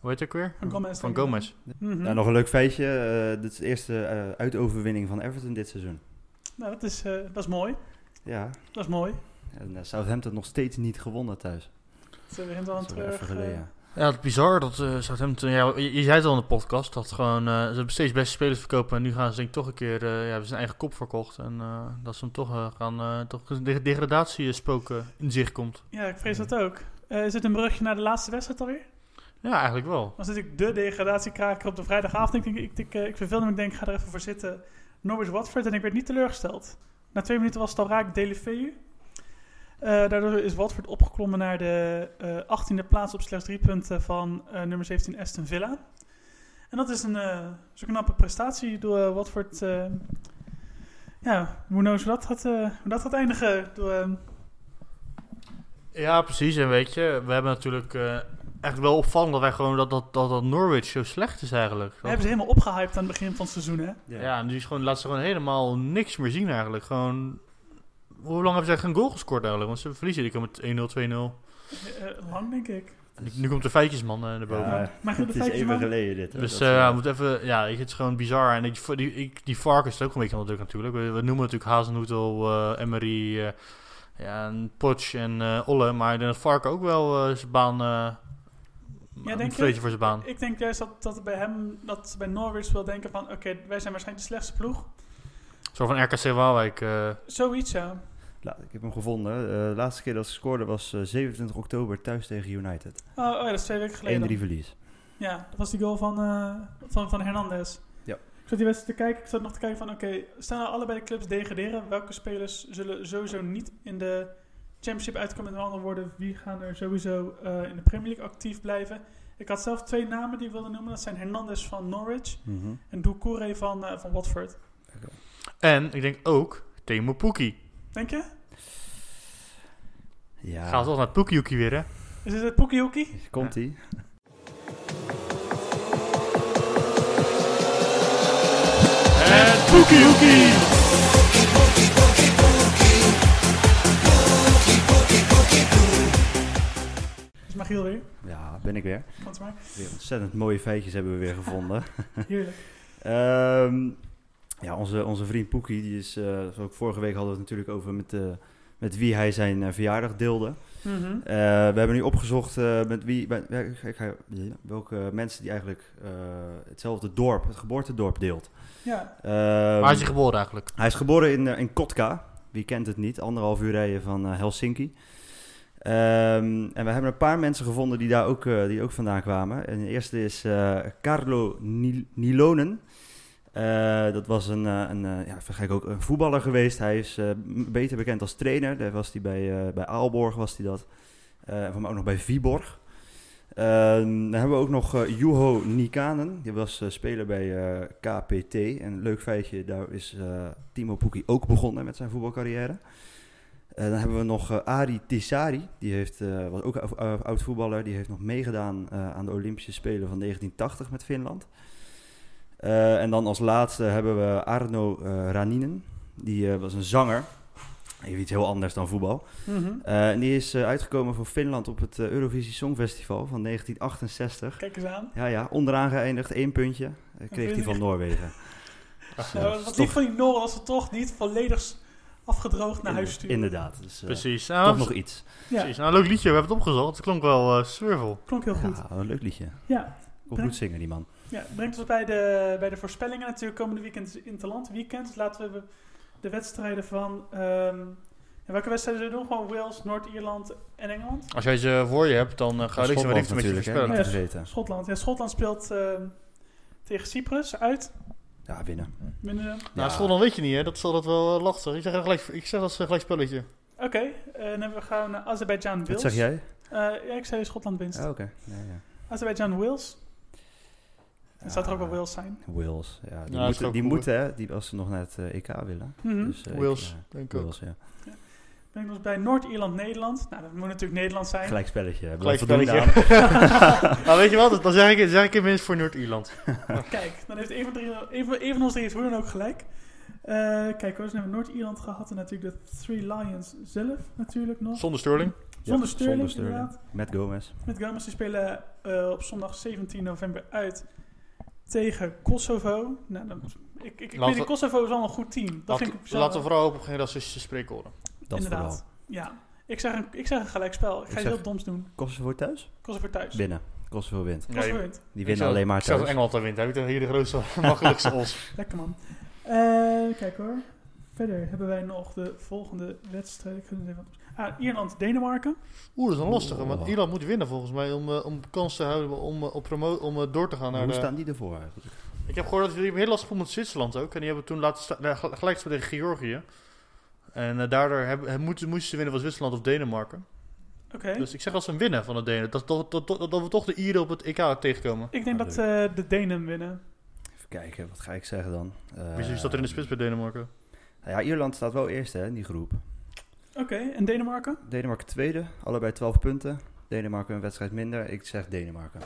B: hoe heet ik weer?
C: Van Gomez.
B: Van
C: denk ik.
B: Gomez.
C: Mhm.
F: Nou, nog een leuk feitje. eh, dit is de eerste eh, uitoverwinning van Everton dit seizoen.
C: Nou, dat is, eh, dat is mooi.
F: Ja.
C: Dat is mooi.
F: En eh, Southampton nog steeds niet gewonnen thuis.
C: Ze begint al een
F: Dat is wel
C: terug.
F: even
C: eh,
F: geleden.
B: Ja, het is bizar dat eh Southampton... Ja, je, je zei het al in de podcast, dat gewoon, eh, ze hebben steeds beste spelers verkopen. En nu gaan ze denk ik toch een keer... eh, ja, hebben ze zijn eigen kop verkocht. En eh, dat ze hem toch eh, gaan... eh, toch een deg- degradatiespoken in zicht komt.
C: Ja, ik
F: Mhm.
C: vrees dat ook. Eh, is het een brugje naar de laatste wedstrijd alweer?
B: Ja, eigenlijk wel.
C: Dan zit ik de degradatiekraker op de vrijdagavond. Ik, denk, ik, ik, eh, ik verveelde me, ik denk, ik ga er even voor zitten. Norwich Watford en ik werd niet teleurgesteld. Na twee minuten was het al raak Delefeu. Eh daardoor is Watford opgeklommen naar de eh 18e plaats op slechts drie punten van eh, nummer 17 Aston Villa. En dat is een eh, zo'n knappe prestatie door eh, Watford. eh, ja, hoe knows hoe dat gaat, eh, hoe dat gaat eindigen. Door, eh,
B: Ja, precies. En weet je, we hebben natuurlijk eh, echt wel opvallend dat wij gewoon dat, dat, dat, dat Norwich zo slecht is eigenlijk.
C: we hebben ze helemaal opgehyped aan het begin van het seizoen. Hè?
B: ja. en nu is gewoon, laat ze gewoon helemaal niks meer zien eigenlijk. Gewoon, hoe lang hebben ze echt een goal gescoord eigenlijk? Want ze verliezen, die komen met 1-0, 2-0.
C: Eh, eh, lang, denk ik.
B: Nu- Nu komt de feitjesman man eh, naar boven.
D: Ja, eh,
C: Maar goed,
D: het
C: de
D: is
C: feitjes
D: even
C: waren-
D: geleden dit. hè,
B: Dus
D: dat
B: eh,
D: ze-
B: ja, moet even, ja, ik- het is gewoon bizar. En ik, voor die, ik, die varkens is ook een beetje onder druk natuurlijk. We, we noemen natuurlijk Hazenhoetel, eh Emery, eh, ja, en Potsch en eh, Olle. Maar ik denk dat Varken ook wel eh, zijn baan, eh
C: denk
B: een
C: je?
B: vreetje voor zijn baan.
C: Ik denk juist dat, dat bij hem, dat ze bij Norwich wel denken van... Oké, wij zijn waarschijnlijk de slechtste ploeg.
B: Zo van RKC Waalwijk. eh,
C: Zoiets, ja.
D: La- ik heb hem gevonden. Eh, de laatste keer dat ze scoorde was eh, 27 oktober thuis tegen United. 1-3
C: Oh, oh ja, dat is twee weken geleden.
D: verlies.
C: Ja, dat was die goal van, eh, van, van Hernandez.
D: Ja.
C: Ik zat die wedstrijd te kijken. Ik zat nog te kijken van... Oké, staan nou allebei de clubs degraderen? Welke spelers zullen sowieso niet in de championship uitkomen? Met andere woorden, wie gaan er sowieso eh, in de Premier League actief blijven? Ik had zelf twee namen die ik wilde noemen. Dat zijn Hernandez van Norwich
B: Mhm.
C: en Doucouré van, eh, van Watford.
B: en ik denk ook Temo Poekie.
C: Denk je?
D: Ja.
B: Gaat toch naar Poekiehoekie weer, hè?
C: Is dit het Poekiehoekie?
D: Komt ie?
B: Het Poekiehoekie!
C: Is Magiel weer?
D: Ja, ben ik weer.
C: Want maar.
D: Weer ontzettend mooie feitjes hebben we weer gevonden.
C: Heerlijk.
D: Ehm, ja, onze, onze vriend Poekie, die is, eh, zoals ook vorige week hadden we het natuurlijk over met, eh, met wie hij zijn eh, verjaardag deelde.
C: Mhm.
D: Eh, we hebben nu opgezocht eh, met wie, bij- ja, ik- ik ga- welke mensen die eigenlijk eh, hetzelfde dorp, het geboortedorp deelt.
C: Ja,
D: Ehm,
B: Waar is hij geboren eigenlijk?
D: Hij is geboren in, eh, in Kotka. Wie kent het niet? Anderhalf uur rijden van eh, Helsinki. Ehm, en we hebben een paar mensen gevonden die daar ook, eh, die ook vandaan kwamen. En de eerste is eh, Carlo Nil- Nilonen. Eh, dat was een, eh, een, eh, ja, waarschijnlijk ook een voetballer geweest. Hij is eh, m- beter bekend als trainer. Daar was hij bij, eh, bij Aalborg was hij dat. Eh van mij ook nog bij Viborg. Ehm, dan hebben we ook nog eh, Juho Nikanen. Die was eh, speler bij eh, KPT. En een leuk feitje, daar is eh, Timo Pukki ook begonnen met zijn voetbalcarrière. Eh, dan hebben we nog eh, Ari Tissari. Die heeft, eh, was ook ou- ou- oud voetballer. Die heeft nog meegedaan eh, aan de Olympische Spelen van 1980 met Finland. Eh, en dan als laatste hebben we Arno eh, Raninen. Die eh, was een zanger. Even iets heel anders dan voetbal.
C: Mhm.
D: Eh, en die is eh, uitgekomen voor Finland op het eh, Eurovisie Songfestival van 1968.
C: kijk eens aan.
D: Ja, ja, onderaan geëindigd, één puntje. Eh, kreeg hij van Noorwegen. Dus, eh,
C: Nou, wat lief van die Noor als ze toch niet volledig s- afgedroogd naar huis sturen.
D: Inderdaad. Dus, eh,
B: Precies.
D: Toch
B: Nou,
D: nog iets.
C: Ja,
B: precies. Nou, leuk liedje. We hebben het opgezocht. Het klonk wel eh survival.
C: klonk heel goed.
D: Ja, een leuk liedje.
C: Ja,
D: Kon goed zingen, die man.
C: ja brengt ons bij de, bij de voorspellingen. Natuurlijk komende weekend is Interland weekend. Dus laten we de wedstrijden van... ehm, ja, welke wedstrijden zullen we doen? Gewoon Wales, Noord-Ierland en Engeland?
B: Als jij ze voor je hebt, dan eh, ga ik ze maar
D: Schotland
B: even met je
D: natuurlijk, hè,
B: voorspellen.
D: niet te vergeten.
C: Schotland. Ja, Schotland speelt ehm, tegen Cyprus uit.
D: Ja, winnen.
C: Winnen.
B: Nou,
D: Ja.
B: Schotland weet je niet, hè? Dat zal dat wel eh, lastig. Ik zeg, gelijk, ik zeg dat ze gelijk spelletje.
C: Oké, eh, dan hebben we gaan naar Azerbeidzjan-Wales.
D: Wat zeg jij?
C: Eh, ja, ik zei Schotland winst.
D: Ah, oké. Ja, ja.
C: Azerbeidzjan-Wales. Er staat er ook wel
D: Ah,
C: Wales zijn.
D: Wales, ja. Die
B: Ja, is
D: moeten,
B: ook
D: die
B: goed.
D: moeten hè, die, als ze nog naar het eh, EK willen.
C: Mhm.
D: Dus, eh, ik,
B: Wales,
D: eh,
B: denk ik ook.
D: Wales, ja.
C: Brengt ons bij Noord-Ierland-Nederland. Nou, dat moet natuurlijk Nederland zijn.
D: Gelijk spelletje. hebben we
B: Gelijk
D: voldoende
B: spelletje. nou, weet je wat? Dan zeg ik, zeg ik minst voor Noord-Ierland.
C: Kijk, dan heeft een van, drie, een van- een van ons drie is hoe dan ook gelijk. Eh, kijk hoor, ze hebben Noord-Ierland gehad en natuurlijk de Three Lions zelf natuurlijk nog.
B: Zonder Sterling.
C: Zonder Sterling,
D: zonder Sterling.
C: inderdaad.
D: aan. Met Gomez.
C: Met Gomez, die spelen eh, op zondag 17 november uit tegen Kosovo. Nou, dan, ik, ik, ik
B: Laten-
C: weet niet, Kosovo is wel een goed team. Dat
B: Laten,
C: vind ik
B: laten we
C: zelf-
B: vooral hopen op geen racistische spreekkoren.
D: Dat
C: Inderdaad.
D: vooral.
C: Ja, ik zeg een, ik zeg een gelijkspel. Ik ga
D: Ik
C: iets
D: zeg-
C: heel doms doen.
D: Kosovo thuis?
C: Kosovo thuis.
D: Winnen. Kosovo wint.
C: Kosovo
B: Nee,
C: wint.
D: Die
B: ik
D: winnen
B: zou-
D: alleen maar
B: Ik zou dat
D: thuis.
B: Engeland daar wint. Daar Heb ik toch hier de grootste, makkelijkste os.
C: Lekker man. Eh, kijk hoor. Verder hebben wij nog de volgende wedstrijd. Ik ga het even- Ah, Ierland-Denemarken.
B: Oeh, dat is een lastige. Want
D: Oeh.
B: Ierland moet winnen volgens mij om, eh, om kans te houden om, eh, op promo om eh, door te gaan naar
D: Hoe
B: de...
D: staan die ervoor eigenlijk?
B: Ik heb gehoord dat jullie heel lastig vonden met Zwitserland ook. En die hebben toen laten sta- nou, gel- gelijk gespeeld tegen Georgië. En eh, daardoor hebben, hebben- moesten, moesten ze winnen van Zwitserland of Denemarken.
C: Oké.
B: Dus ik zeg dat ze winnen van de Denen. Dat, dat, dat, dat, dat we toch de Ieren op het EK tegenkomen.
C: Ik denk
F: Ah,
C: dat eh, de Denen winnen.
F: Even kijken, wat ga ik zeggen dan? Eh,
B: Wie staat er in de spits bij Denemarken?
F: Nou ja, Ierland staat wel eerste hè, in die groep.
C: Oké, en Denemarken?
F: Denemarken tweede, allebei 12 punten. Denemarken een wedstrijd minder. Ik zeg Denemarken.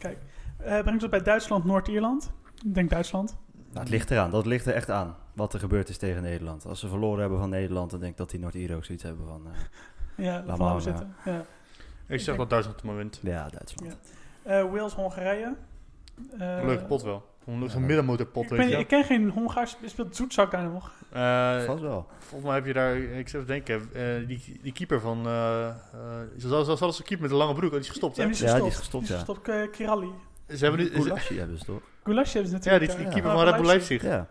C: Eh brengt ons bij Duitsland, Noord-Ierland. Ik denk Duitsland.
F: Nou, het ligt eraan, dat ligt er echt aan wat er gebeurd is tegen Nederland. Als ze verloren hebben van Nederland, dan denk ik dat die Noord-Ieren ook zoiets hebben van... eh,
C: Ja,
F: maar
C: dat gaan we
F: hangen.
C: zitten. Ja.
B: Ik zeg
C: denk-
B: dat Duitsland het maar wint.
F: ja, Duitsland.
C: Ja. Eh, Wales, Hongarije. Eh,
B: Leuke pot wel. Een
F: Ja.
B: middenmotorpot,
C: Ik,
B: weet
C: weet,
B: je.
C: ik ken geen Hongaars, er speelt Zoetzak daar nog.
B: Eh,
F: Vast wel.
B: Volgens mij heb je daar, ik zou even denken, eh, die, die keeper van, eh eh, ze hadden- ze hadden een keeper met een lange broek, oh, die is gestopt hè?
C: En die is
F: Ja,
C: gestopt.
F: die is gestopt, ja.
C: gestopt, eh, Kirali.
B: Ze hebben nu, ze-
F: Goelasje hebben ze toch?
C: Goulash hebben ze
B: ja,
C: natuurlijk.
B: die, die
C: eh,
B: keeper
C: ja.
B: van Red Bull
C: Leipzig.
B: Leipzig.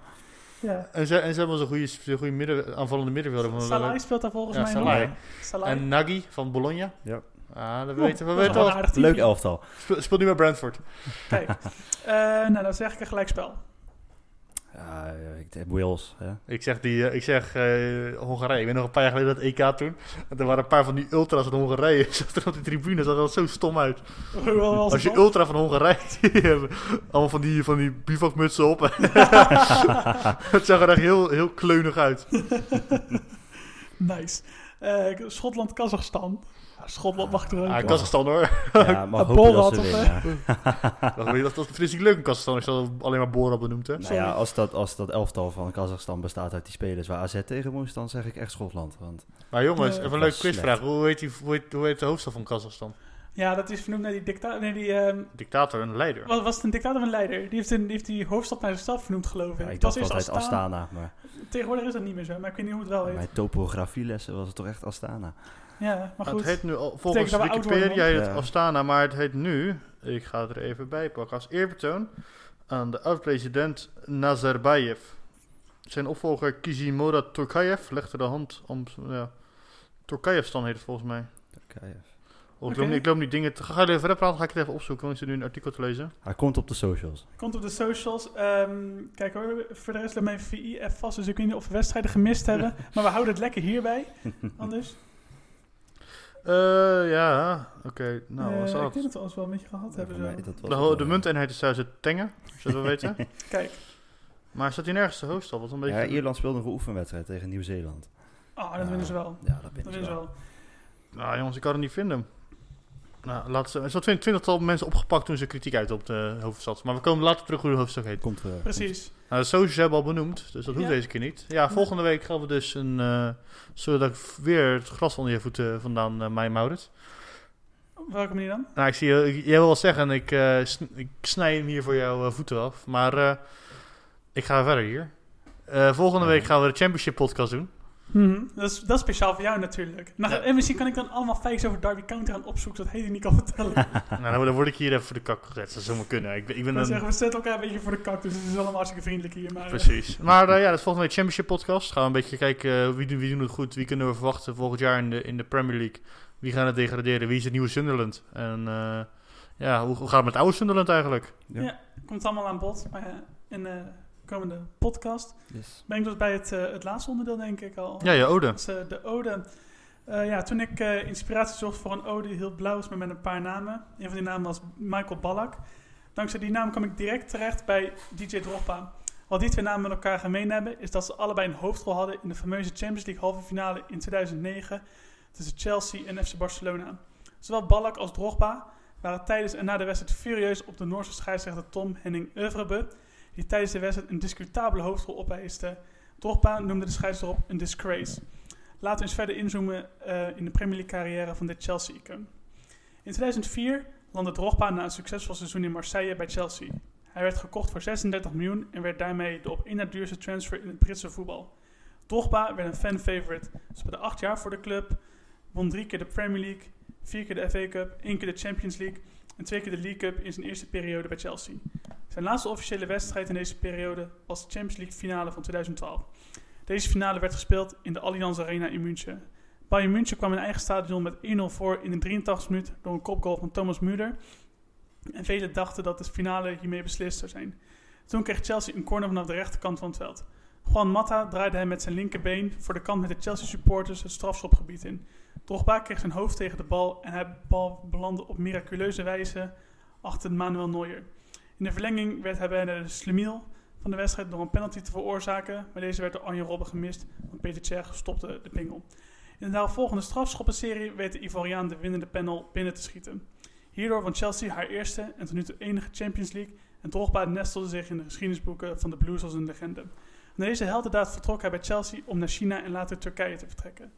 F: Ja.
C: Ja.
B: En ze, en ze hebben zo'n goede, zo'n goede midden, aanvallende middenvelder. Van
C: Salah speelt daar volgens
B: ja,
C: mij
B: Salah.
C: nog.
B: hè.
C: Salah.
B: En Nagy van Bologna.
F: Ja.
B: Ah, dat
C: Oh,
B: weten we. We
C: dat is
B: weten
C: wel
B: al.
C: een aardig team.
F: Leuk elftal.
B: Speel, speelt nu bij Brentford.
C: Kijk, eh, nou dan zeg ik een gelijkspel.
F: Ja, ik denk Wales. Hè?
B: Ik zeg, die, eh, ik zeg eh, Hongarije. Ik weet nog een paar jaar geleden dat EK toen. En er waren een paar van die ultras van Hongarije. Zat er op de tribune, zag er al zo stom uit.
C: Hoewel wel
B: Als je
C: zo-
B: ultra van Hongarije die hebben allemaal van die, van die bivakmutsen op. het zag er echt heel, heel kleunig uit.
C: Nice. Eh, Schotland, Kazachstan. Ja, Schotland mag er ook.
B: Ah, Kazachstan hoor.
F: Ja, maar
C: Een
F: hopen dat
C: bolrat
F: ze
C: of,
F: winnen.
B: Dat, dat, dat vind ik leuk in Kazachstan. Ik zal alleen maar Bora benoemd hè.
F: Nou ja, als dat, als dat elftal van Kazachstan bestaat uit die spelers waar AZ tegen moest, dan zeg ik echt Schotland. Want
B: Maar jongens,
C: Ja.
B: even een
F: Dat
B: leuke
F: was
B: quizvraag. Hoe heet, die, hoe, heet, hoe heet de hoofdstad van Kazachstan?
C: Ja, dat is vernoemd naar die dictator. Nee, die, ehm,
B: Dictator en leider.
C: was, was het een dictator of een leider? Die heeft, een, die heeft die hoofdstad naar zichzelf vernoemd, geloof
F: ja,
C: ik.
F: ik
C: Dat
F: dacht
C: is Oh,
F: altijd Astana, maar
C: Tegenwoordig is dat niet meer zo, maar ik weet niet hoe het wel
F: bij
C: heet.
F: mijn topografielessen was het toch echt Astana.
C: Ja, maar
B: Nou,
C: goed.
B: het heet nu al,
C: Betekent
B: volgens
C: dat we oud worden,
B: Wikipedia heet het
F: Ja.
B: Astana, maar het heet nu, ik ga het er even bij pakken, als eerbetoon aan de oud-president Nazarbayev. Zijn opvolger Kizimoda Tokayev legde de hand om... Ja, Tokayev-stan heet het volgens mij.
F: Kijk,
B: Oh, ik,
C: Oké.
B: loop, niet- ik loop niet dingen... Te, ga jullie even verder praten, ga ik het even opzoeken, want ik zit nu een artikel te lezen.
F: Hij komt op de socials.
C: Komt op de socials. Ehm, kijk hoor, voor de rest loopt mijn VI even vast, dus ik weet niet of we wedstrijden gemist hebben. Maar we houden het lekker hierbij. Anders.
B: Eh, ja, oké, nou, wat is
C: Eh, ik
B: dat?
C: denk dat we alles wel een beetje gehad hebben.
F: Voor mij,
C: Zo.
F: dat was het
B: De, ho-
F: wel,
B: Nou, de
F: ja.
B: munteenheid is thuis het tengen, zullen we weten.
C: Kijk.
B: Maar staat hier nergens de hoofdstad? Wat een beetje...
F: Ja, Ierland speelde nog een oefenwedstrijd tegen Nieuw-Zeeland.
C: Ah, dat
F: Ja.
C: winnen ze wel.
F: Ja, dat
C: Dat
F: ben ik
C: winnen ze
F: wel.
C: wel.
B: Nou jongens, ik kan het niet vinden. Nou, laatste, er is zo'n twintigtal mensen opgepakt toen ze kritiek uit op de hoofdstad. Maar we komen later terug hoe de hoofdstad heet.
F: Komt eh,
C: Precies.
B: Nou, de socials hebben we al benoemd, dus dat hoeft
C: Ja.
B: deze keer niet. Ja, volgende week gaan we dus een... eh zodat ik weer het gras onder je voeten vandaan eh, mij moudert.
C: Op welke manier dan?
B: Nou, ik zie je... Jij wil wel zeggen, ik, eh, sn- ik snij hem hier voor jouw eh, voeten af. Maar eh, ik ga verder hier. Eh, volgende
F: Ja.
B: week gaan we de Championship podcast doen.
C: Dat, is, dat is speciaal voor jou natuurlijk. Maar,
B: Mhm. Ja.
C: En misschien kan ik dan allemaal feitjes over Derby County gaan opzoeken, dat Hedy niet kan vertellen.
B: nou, dan- dan word ik hier even voor de kak gezet. Dat zou maar kunnen. Ik, ben- ik ben
C: Dan
B: een...
C: zeggen we, we zetten elkaar een beetje voor de kak, dus het is allemaal hartstikke vriendelijk hier. Maar, eh,
B: Precies. Maar eh, ja, dat is volgende week Championship podcast. Gaan we een beetje kijken eh, wie, doen, wie doen het goed, wie kunnen we verwachten volgend jaar in de, in de Premier League. Wie gaan het degraderen, wie is het nieuwe Sunderland. En eh, ja, hoe, hoe gaat het met het oude Sunderland eigenlijk?
C: eh, komt allemaal aan bod. Maar eh, in de komende podcast
F: yes.
C: ben ik dus bij het, eh, het laatste onderdeel, denk ik al.
B: Ja, ja, Ode.
C: Dat is eh, de ode. Eh, ja, toen ik eh, inspiratie zocht voor een ode die heel blauw is, maar met een paar namen. Een van die namen was Michael Ballack. Dankzij die naam kwam ik direct terecht bij DJ Drogba. Wat die twee namen met elkaar gemeen hebben, is dat ze allebei een hoofdrol hadden in de fameuze Champions League halve finale in 2009 tussen Chelsea en FC Barcelona. Zowel Ballack als Drogba waren tijdens en na de wedstrijd furieus op de Noorse scheidsrechter Tom Henning Övrebe, die tijdens de wedstrijd een discutabele hoofdrol opeiste. Drogba noemde de scheidsrechter op een disgrace. Laten we eens verder inzoomen eh, in de Premier League carrière van dit Chelsea-icoon. In 2004 landde Drogba na een succesvol seizoen in Marseille bij Chelsea. Hij werd gekocht voor 36 miljoen en werd daarmee de op één na duurste transfer in het Britse voetbal. Drogba werd een fan-favorite, speelde acht jaar voor de club, won drie keer de Premier League, vier keer de FA Cup, één keer de Champions League en twee keer de League Cup in zijn eerste periode bij Chelsea. Zijn laatste officiële wedstrijd in deze periode was de Champions League finale van 2012. Deze finale werd gespeeld in de Allianz Arena in München. Bayern München kwam in eigen stadion met 1-0 voor in de 83 minuut door een kopgoal van Thomas Müller. En velen dachten dat de finale hiermee beslist zou zijn. Toen kreeg Chelsea een corner vanaf de rechterkant van het veld. Juan Mata draaide hem met zijn linkerbeen voor de kant met de Chelsea supporters het strafschopgebied in. Drogba kreeg zijn hoofd tegen de bal en hij bal belandde op miraculeuze wijze achter Manuel Neuer. In de verlenging werd hij bijna de slemiel van de wedstrijd door een penalty te veroorzaken, maar deze werd door Anje Robben gemist, want Peter Tsjech stopte de pingel. In de volgende strafschoppenserie weet de Ivoriaan de winnende panel binnen te schieten. Hierdoor won Chelsea haar eerste en tot nu toe enige Champions League en Drogba nestelde zich in de geschiedenisboeken van de Blues als een legende. Na deze heldendaad vertrok hij bij Chelsea om naar China en later Turkije te vertrekken.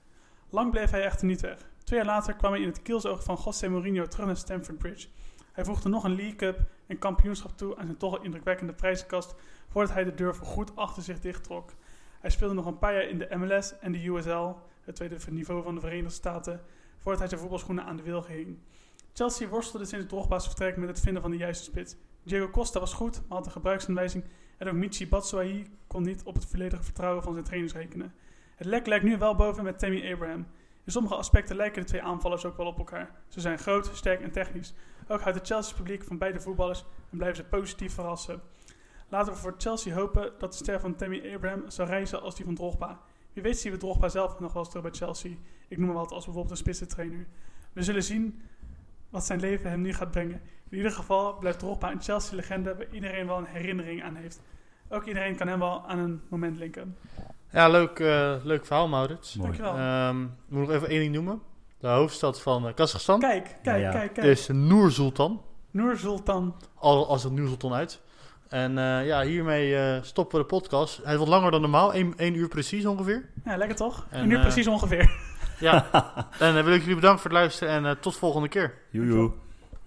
C: Lang bleef hij echter niet weg. Twee jaar later kwam hij in het kielzoog van José Mourinho terug naar Stamford Bridge. Hij voegde nog een League Cup en kampioenschap toe aan zijn toch al indrukwekkende prijzenkast voordat hij de deur voor goed achter zich dicht trok. Hij speelde nog een paar jaar in de MLS en de USL, het tweede niveau van de Verenigde Staten, voordat hij zijn voetbalschoenen aan de wilgen hing. Chelsea worstelde sinds Drogba's vertrek met het vinden van de juiste spits. Diego Costa was goed, maar had een gebruiksaanwijzing en ook Michi Batshuayi kon niet op het volledige vertrouwen van zijn trainers rekenen. Het lek lijkt nu wel boven met Tammy Abraham. In sommige aspecten lijken de twee aanvallers ook wel op elkaar. Ze zijn groot, sterk en technisch. Ook houdt het Chelsea publiek van beide voetballers en blijven ze positief verrassen. Laten we voor Chelsea hopen dat de ster van Tammy Abraham zal reizen als die van Drogba. Wie weet zien we Drogba zelf nog wel eens terug bij Chelsea. Ik noem hem wat als bijvoorbeeld een spitsentrainer. We zullen zien wat zijn leven hem nu gaat brengen. In ieder geval blijft Drogba een Chelsea-legende waar iedereen wel een herinnering aan heeft. Ook iedereen kan hem wel aan een moment linken.
B: Ja, leuk, eh, leuk verhaal, Maurits.
D: Mooi.
C: Dankjewel.
B: Ehm, ik moet nog even één ding noemen. De hoofdstad van eh, Kazachstan
C: Kijk, kijk,
F: Ja, ja.
C: kijk, kijk.
B: is Noer-Sultan.
C: Noor Sultan.
B: Al, als het Noer-Sultan uit. En eh, ja, hiermee eh, stoppen we de podcast. Hij is wat langer dan normaal. 1 uur precies ongeveer.
C: Ja, lekker toch?
B: En,
C: En, nu
B: eh,
C: precies ongeveer.
B: Ja. en dan wil ik jullie bedanken voor het luisteren. En eh, tot volgende keer.
F: Joejoe.